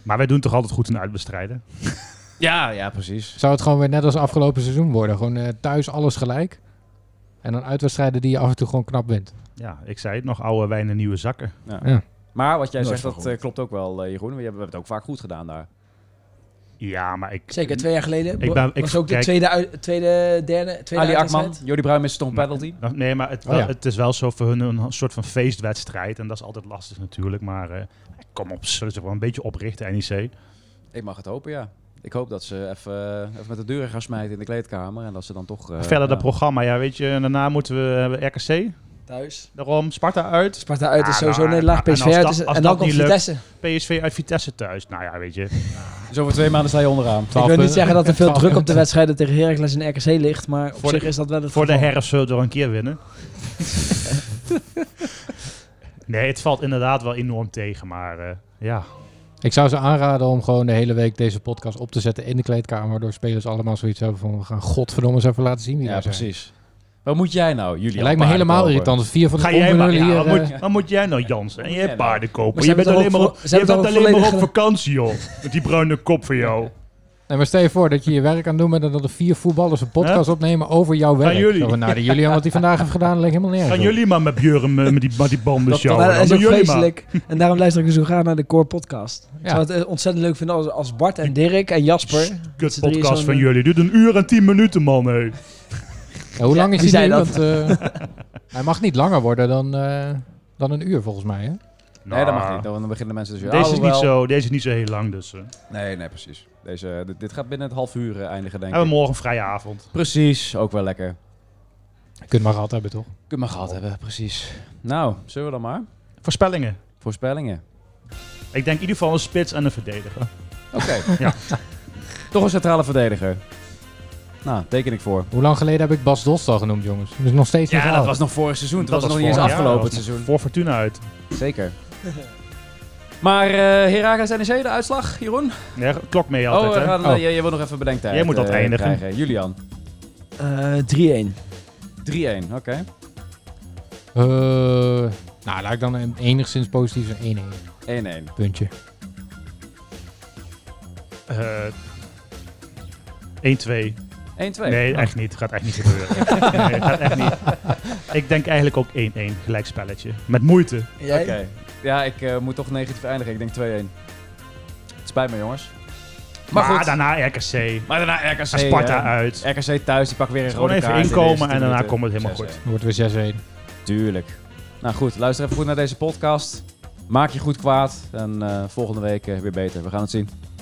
Speaker 3: maar wij doen toch altijd goed in uitbestrijden?
Speaker 2: Ja, ja, precies.
Speaker 4: Zou het gewoon weer net als afgelopen seizoen worden? Gewoon eh, thuis alles gelijk. En dan uitwedstrijden die je af en toe gewoon knap wint.
Speaker 3: Ja, ik zei het nog, oude wijn en nieuwe zakken.
Speaker 2: Maar wat jij
Speaker 5: Nooit
Speaker 2: zegt,
Speaker 5: van
Speaker 2: dat eh, klopt ook wel, eh, Jeroen. We hebben het ook vaak goed gedaan daar.
Speaker 3: Ja, maar ik...
Speaker 5: Zeker twee jaar geleden.
Speaker 3: Ik ben- ik-
Speaker 5: was ook de
Speaker 3: kijk-
Speaker 5: tweede, uit- tweede, derde, tweede
Speaker 2: Ali Akman,
Speaker 5: uitwedstrijd.
Speaker 2: Jordi Bruin miste toch een penalty?
Speaker 3: Nou, Nee, maar het,
Speaker 4: Oh, ja.
Speaker 3: het is wel zo voor hun een soort van feestwedstrijd. En dat is altijd lastig natuurlijk. Maar eh, kom op, ze zullen zich wel een beetje oprichten, NEC.
Speaker 2: Ik mag het hopen, ja. Ik hoop dat ze even, eh, even met de deuren gaan smijten in de kleedkamer. En dat ze dan toch... eh,
Speaker 3: Verder dat
Speaker 2: ja.
Speaker 3: programma. Ja, weet je, en daarna moeten we eh, RKC.
Speaker 5: Thuis.
Speaker 3: Daarom Sparta uit.
Speaker 5: Sparta uit is
Speaker 3: Ah,
Speaker 5: sowieso
Speaker 3: nou,
Speaker 5: nederlaag.
Speaker 3: en als
Speaker 5: PSV uit
Speaker 3: dat-
Speaker 5: is...
Speaker 3: als dat
Speaker 5: En dan komt
Speaker 3: niet lukt-
Speaker 5: Vitesse.
Speaker 3: PSV uit Vitesse thuis. Nou ja, weet je.
Speaker 2: Dus over twee maanden sta je onderaan.
Speaker 5: Ik wil niet zeggen dat er veel
Speaker 4: Twaalf
Speaker 5: druk op de
Speaker 4: punten.
Speaker 5: wedstrijden tegen Heracles en RKC ligt, maar op
Speaker 3: Voor de-
Speaker 5: zich is dat wel het
Speaker 3: Voor de
Speaker 5: geval.
Speaker 3: herfst zullen we er een keer winnen. nee, het valt inderdaad wel enorm tegen. Maar eh, ja,
Speaker 4: Ik zou ze aanraden om gewoon de hele week deze podcast op te zetten in de kleedkamer. Waardoor spelers allemaal zoiets hebben van we gaan godverdomme eens even laten zien wie
Speaker 2: Ja,
Speaker 4: daar zijn.
Speaker 2: precies. Wat moet jij nou, jullie?
Speaker 4: Het lijkt me helemaal irritant. dat Vier van de
Speaker 3: ga jij maar. ja,
Speaker 4: onbenullen hier,
Speaker 3: wat,
Speaker 4: eh,
Speaker 3: moet, wat moet jij nou, Jansen? En
Speaker 2: Wat
Speaker 3: jij
Speaker 2: moet jij
Speaker 3: paarden kopen.
Speaker 5: Maar ze
Speaker 3: Je
Speaker 5: hebben
Speaker 3: bent
Speaker 5: toch
Speaker 3: alleen
Speaker 5: ook
Speaker 3: maar op,
Speaker 5: vo- ze
Speaker 3: je
Speaker 5: hebben
Speaker 3: bent
Speaker 5: toch ook
Speaker 3: alleen maar op
Speaker 5: volledige-
Speaker 3: vakantie, joh. Met die bruine kop van jou.
Speaker 4: Nee, maar stel je voor dat je je werk aan doet met dat er vier voetballers een podcast opnemen over jouw werk.
Speaker 3: jullie.
Speaker 4: Zo van, nou, die Julian wat hij vandaag heeft gedaan, leek helemaal nergens
Speaker 3: Gaan
Speaker 4: op.
Speaker 3: jullie maar met Björn eh, met die, met die banden
Speaker 5: Dat,
Speaker 3: sjouwen.
Speaker 5: dat
Speaker 3: Dan
Speaker 5: is
Speaker 3: doen
Speaker 5: ook
Speaker 3: jullie maar.
Speaker 5: vreselijk. En daarom luister ik dus zo graag naar de Core Podcast. Ik
Speaker 4: Ja.
Speaker 5: zou het eh, ontzettend leuk vinden als, als Bart en Dirk en Jasper... met
Speaker 3: Kut
Speaker 5: z'n drieën
Speaker 3: podcast
Speaker 5: zo'n- eh,
Speaker 3: van jullie. Duurt een uur en tien minuten, man. hé.
Speaker 4: Ja, hoe lang
Speaker 5: Ja,
Speaker 4: is
Speaker 5: wie
Speaker 4: hij nu?
Speaker 5: zei
Speaker 4: Want, eh, hij mag niet langer worden dan, eh, dan een uur volgens mij. Hè?
Speaker 2: Nee, dat mag
Speaker 3: Nou,
Speaker 2: niet. Dan beginnen mensen dus...
Speaker 3: Deze is, niet
Speaker 2: alhoewel-
Speaker 3: zo, deze is niet zo heel lang, dus. eh.
Speaker 2: Nee, nee, precies.
Speaker 3: Oh.
Speaker 2: Deze, dit, dit gaat binnen het half uur eh, eindigen, denk
Speaker 3: Hebben we
Speaker 2: ik.
Speaker 3: morgen een vrije avond.
Speaker 2: Precies, ook wel lekker.
Speaker 4: Kunt maar gehad hebben, toch?
Speaker 2: Kunnen maar gehad hebben, precies. Nou, zullen we dan maar?
Speaker 3: Voorspellingen.
Speaker 2: Voorspellingen.
Speaker 3: Ik denk in ieder geval een spits en een verdediger.
Speaker 2: Oké. Toch een centrale verdediger. Nou, teken ik voor.
Speaker 4: Hoe lang geleden heb ik Bas Dost al genoemd, jongens? Dus nog steeds niet
Speaker 3: Ja, dat
Speaker 4: gehaald.
Speaker 2: was nog vorig seizoen. Het was, nog niet
Speaker 3: voor-
Speaker 2: eens
Speaker 3: ja,
Speaker 2: afgelopen
Speaker 3: dat
Speaker 2: het
Speaker 3: was
Speaker 2: seizoen.
Speaker 3: Voor Fortuna uit.
Speaker 2: Zeker. Maar eh Heracles NEC, de uitslag, Jeroen?
Speaker 3: Ja, klok mee altijd,
Speaker 2: oh, we
Speaker 3: hè?
Speaker 2: gaan,
Speaker 4: Oh.
Speaker 2: eh, jij, jij wil nog even bedenktijd
Speaker 3: Jij moet dat
Speaker 2: eh,
Speaker 3: eindigen.
Speaker 2: krijgen. Julian,
Speaker 5: eh, 3-1.
Speaker 2: 3-1, oké.
Speaker 4: Eh, nou, laat ik dan een- enigszins positief een 1-1
Speaker 2: 1-1.
Speaker 4: puntje.
Speaker 3: Eh, 1-2.
Speaker 2: 1-2.
Speaker 3: Nee, echt niet. Gaat echt niet gebeuren. nee, gaat echt niet. Ik denk eigenlijk ook 1-1, gelijkspelletje. Met moeite.
Speaker 5: Jij?
Speaker 2: Oké. Ja, ik eh, moet toch negatief eindigen. Ik denk 2-1. Het spijt me, jongens.
Speaker 3: Maar,
Speaker 2: Maar, goed.
Speaker 3: daarna RKC.
Speaker 2: maar daarna RKC.
Speaker 3: Sparta eh,
Speaker 2: hè.
Speaker 3: uit.
Speaker 2: RKC thuis, die pak weer een
Speaker 3: Gewoon
Speaker 2: rode
Speaker 3: even
Speaker 2: kaart in de
Speaker 3: inkomen
Speaker 2: eerste
Speaker 3: en
Speaker 2: tien
Speaker 3: daarna
Speaker 2: minuten.
Speaker 3: komt het helemaal
Speaker 2: 6-1.
Speaker 3: goed.
Speaker 4: Dan wordt weer 6-1.
Speaker 2: Tuurlijk. Nou goed, luister even goed naar deze podcast. Maak je goed kwaad. En eh, volgende week eh, weer beter. We gaan het zien.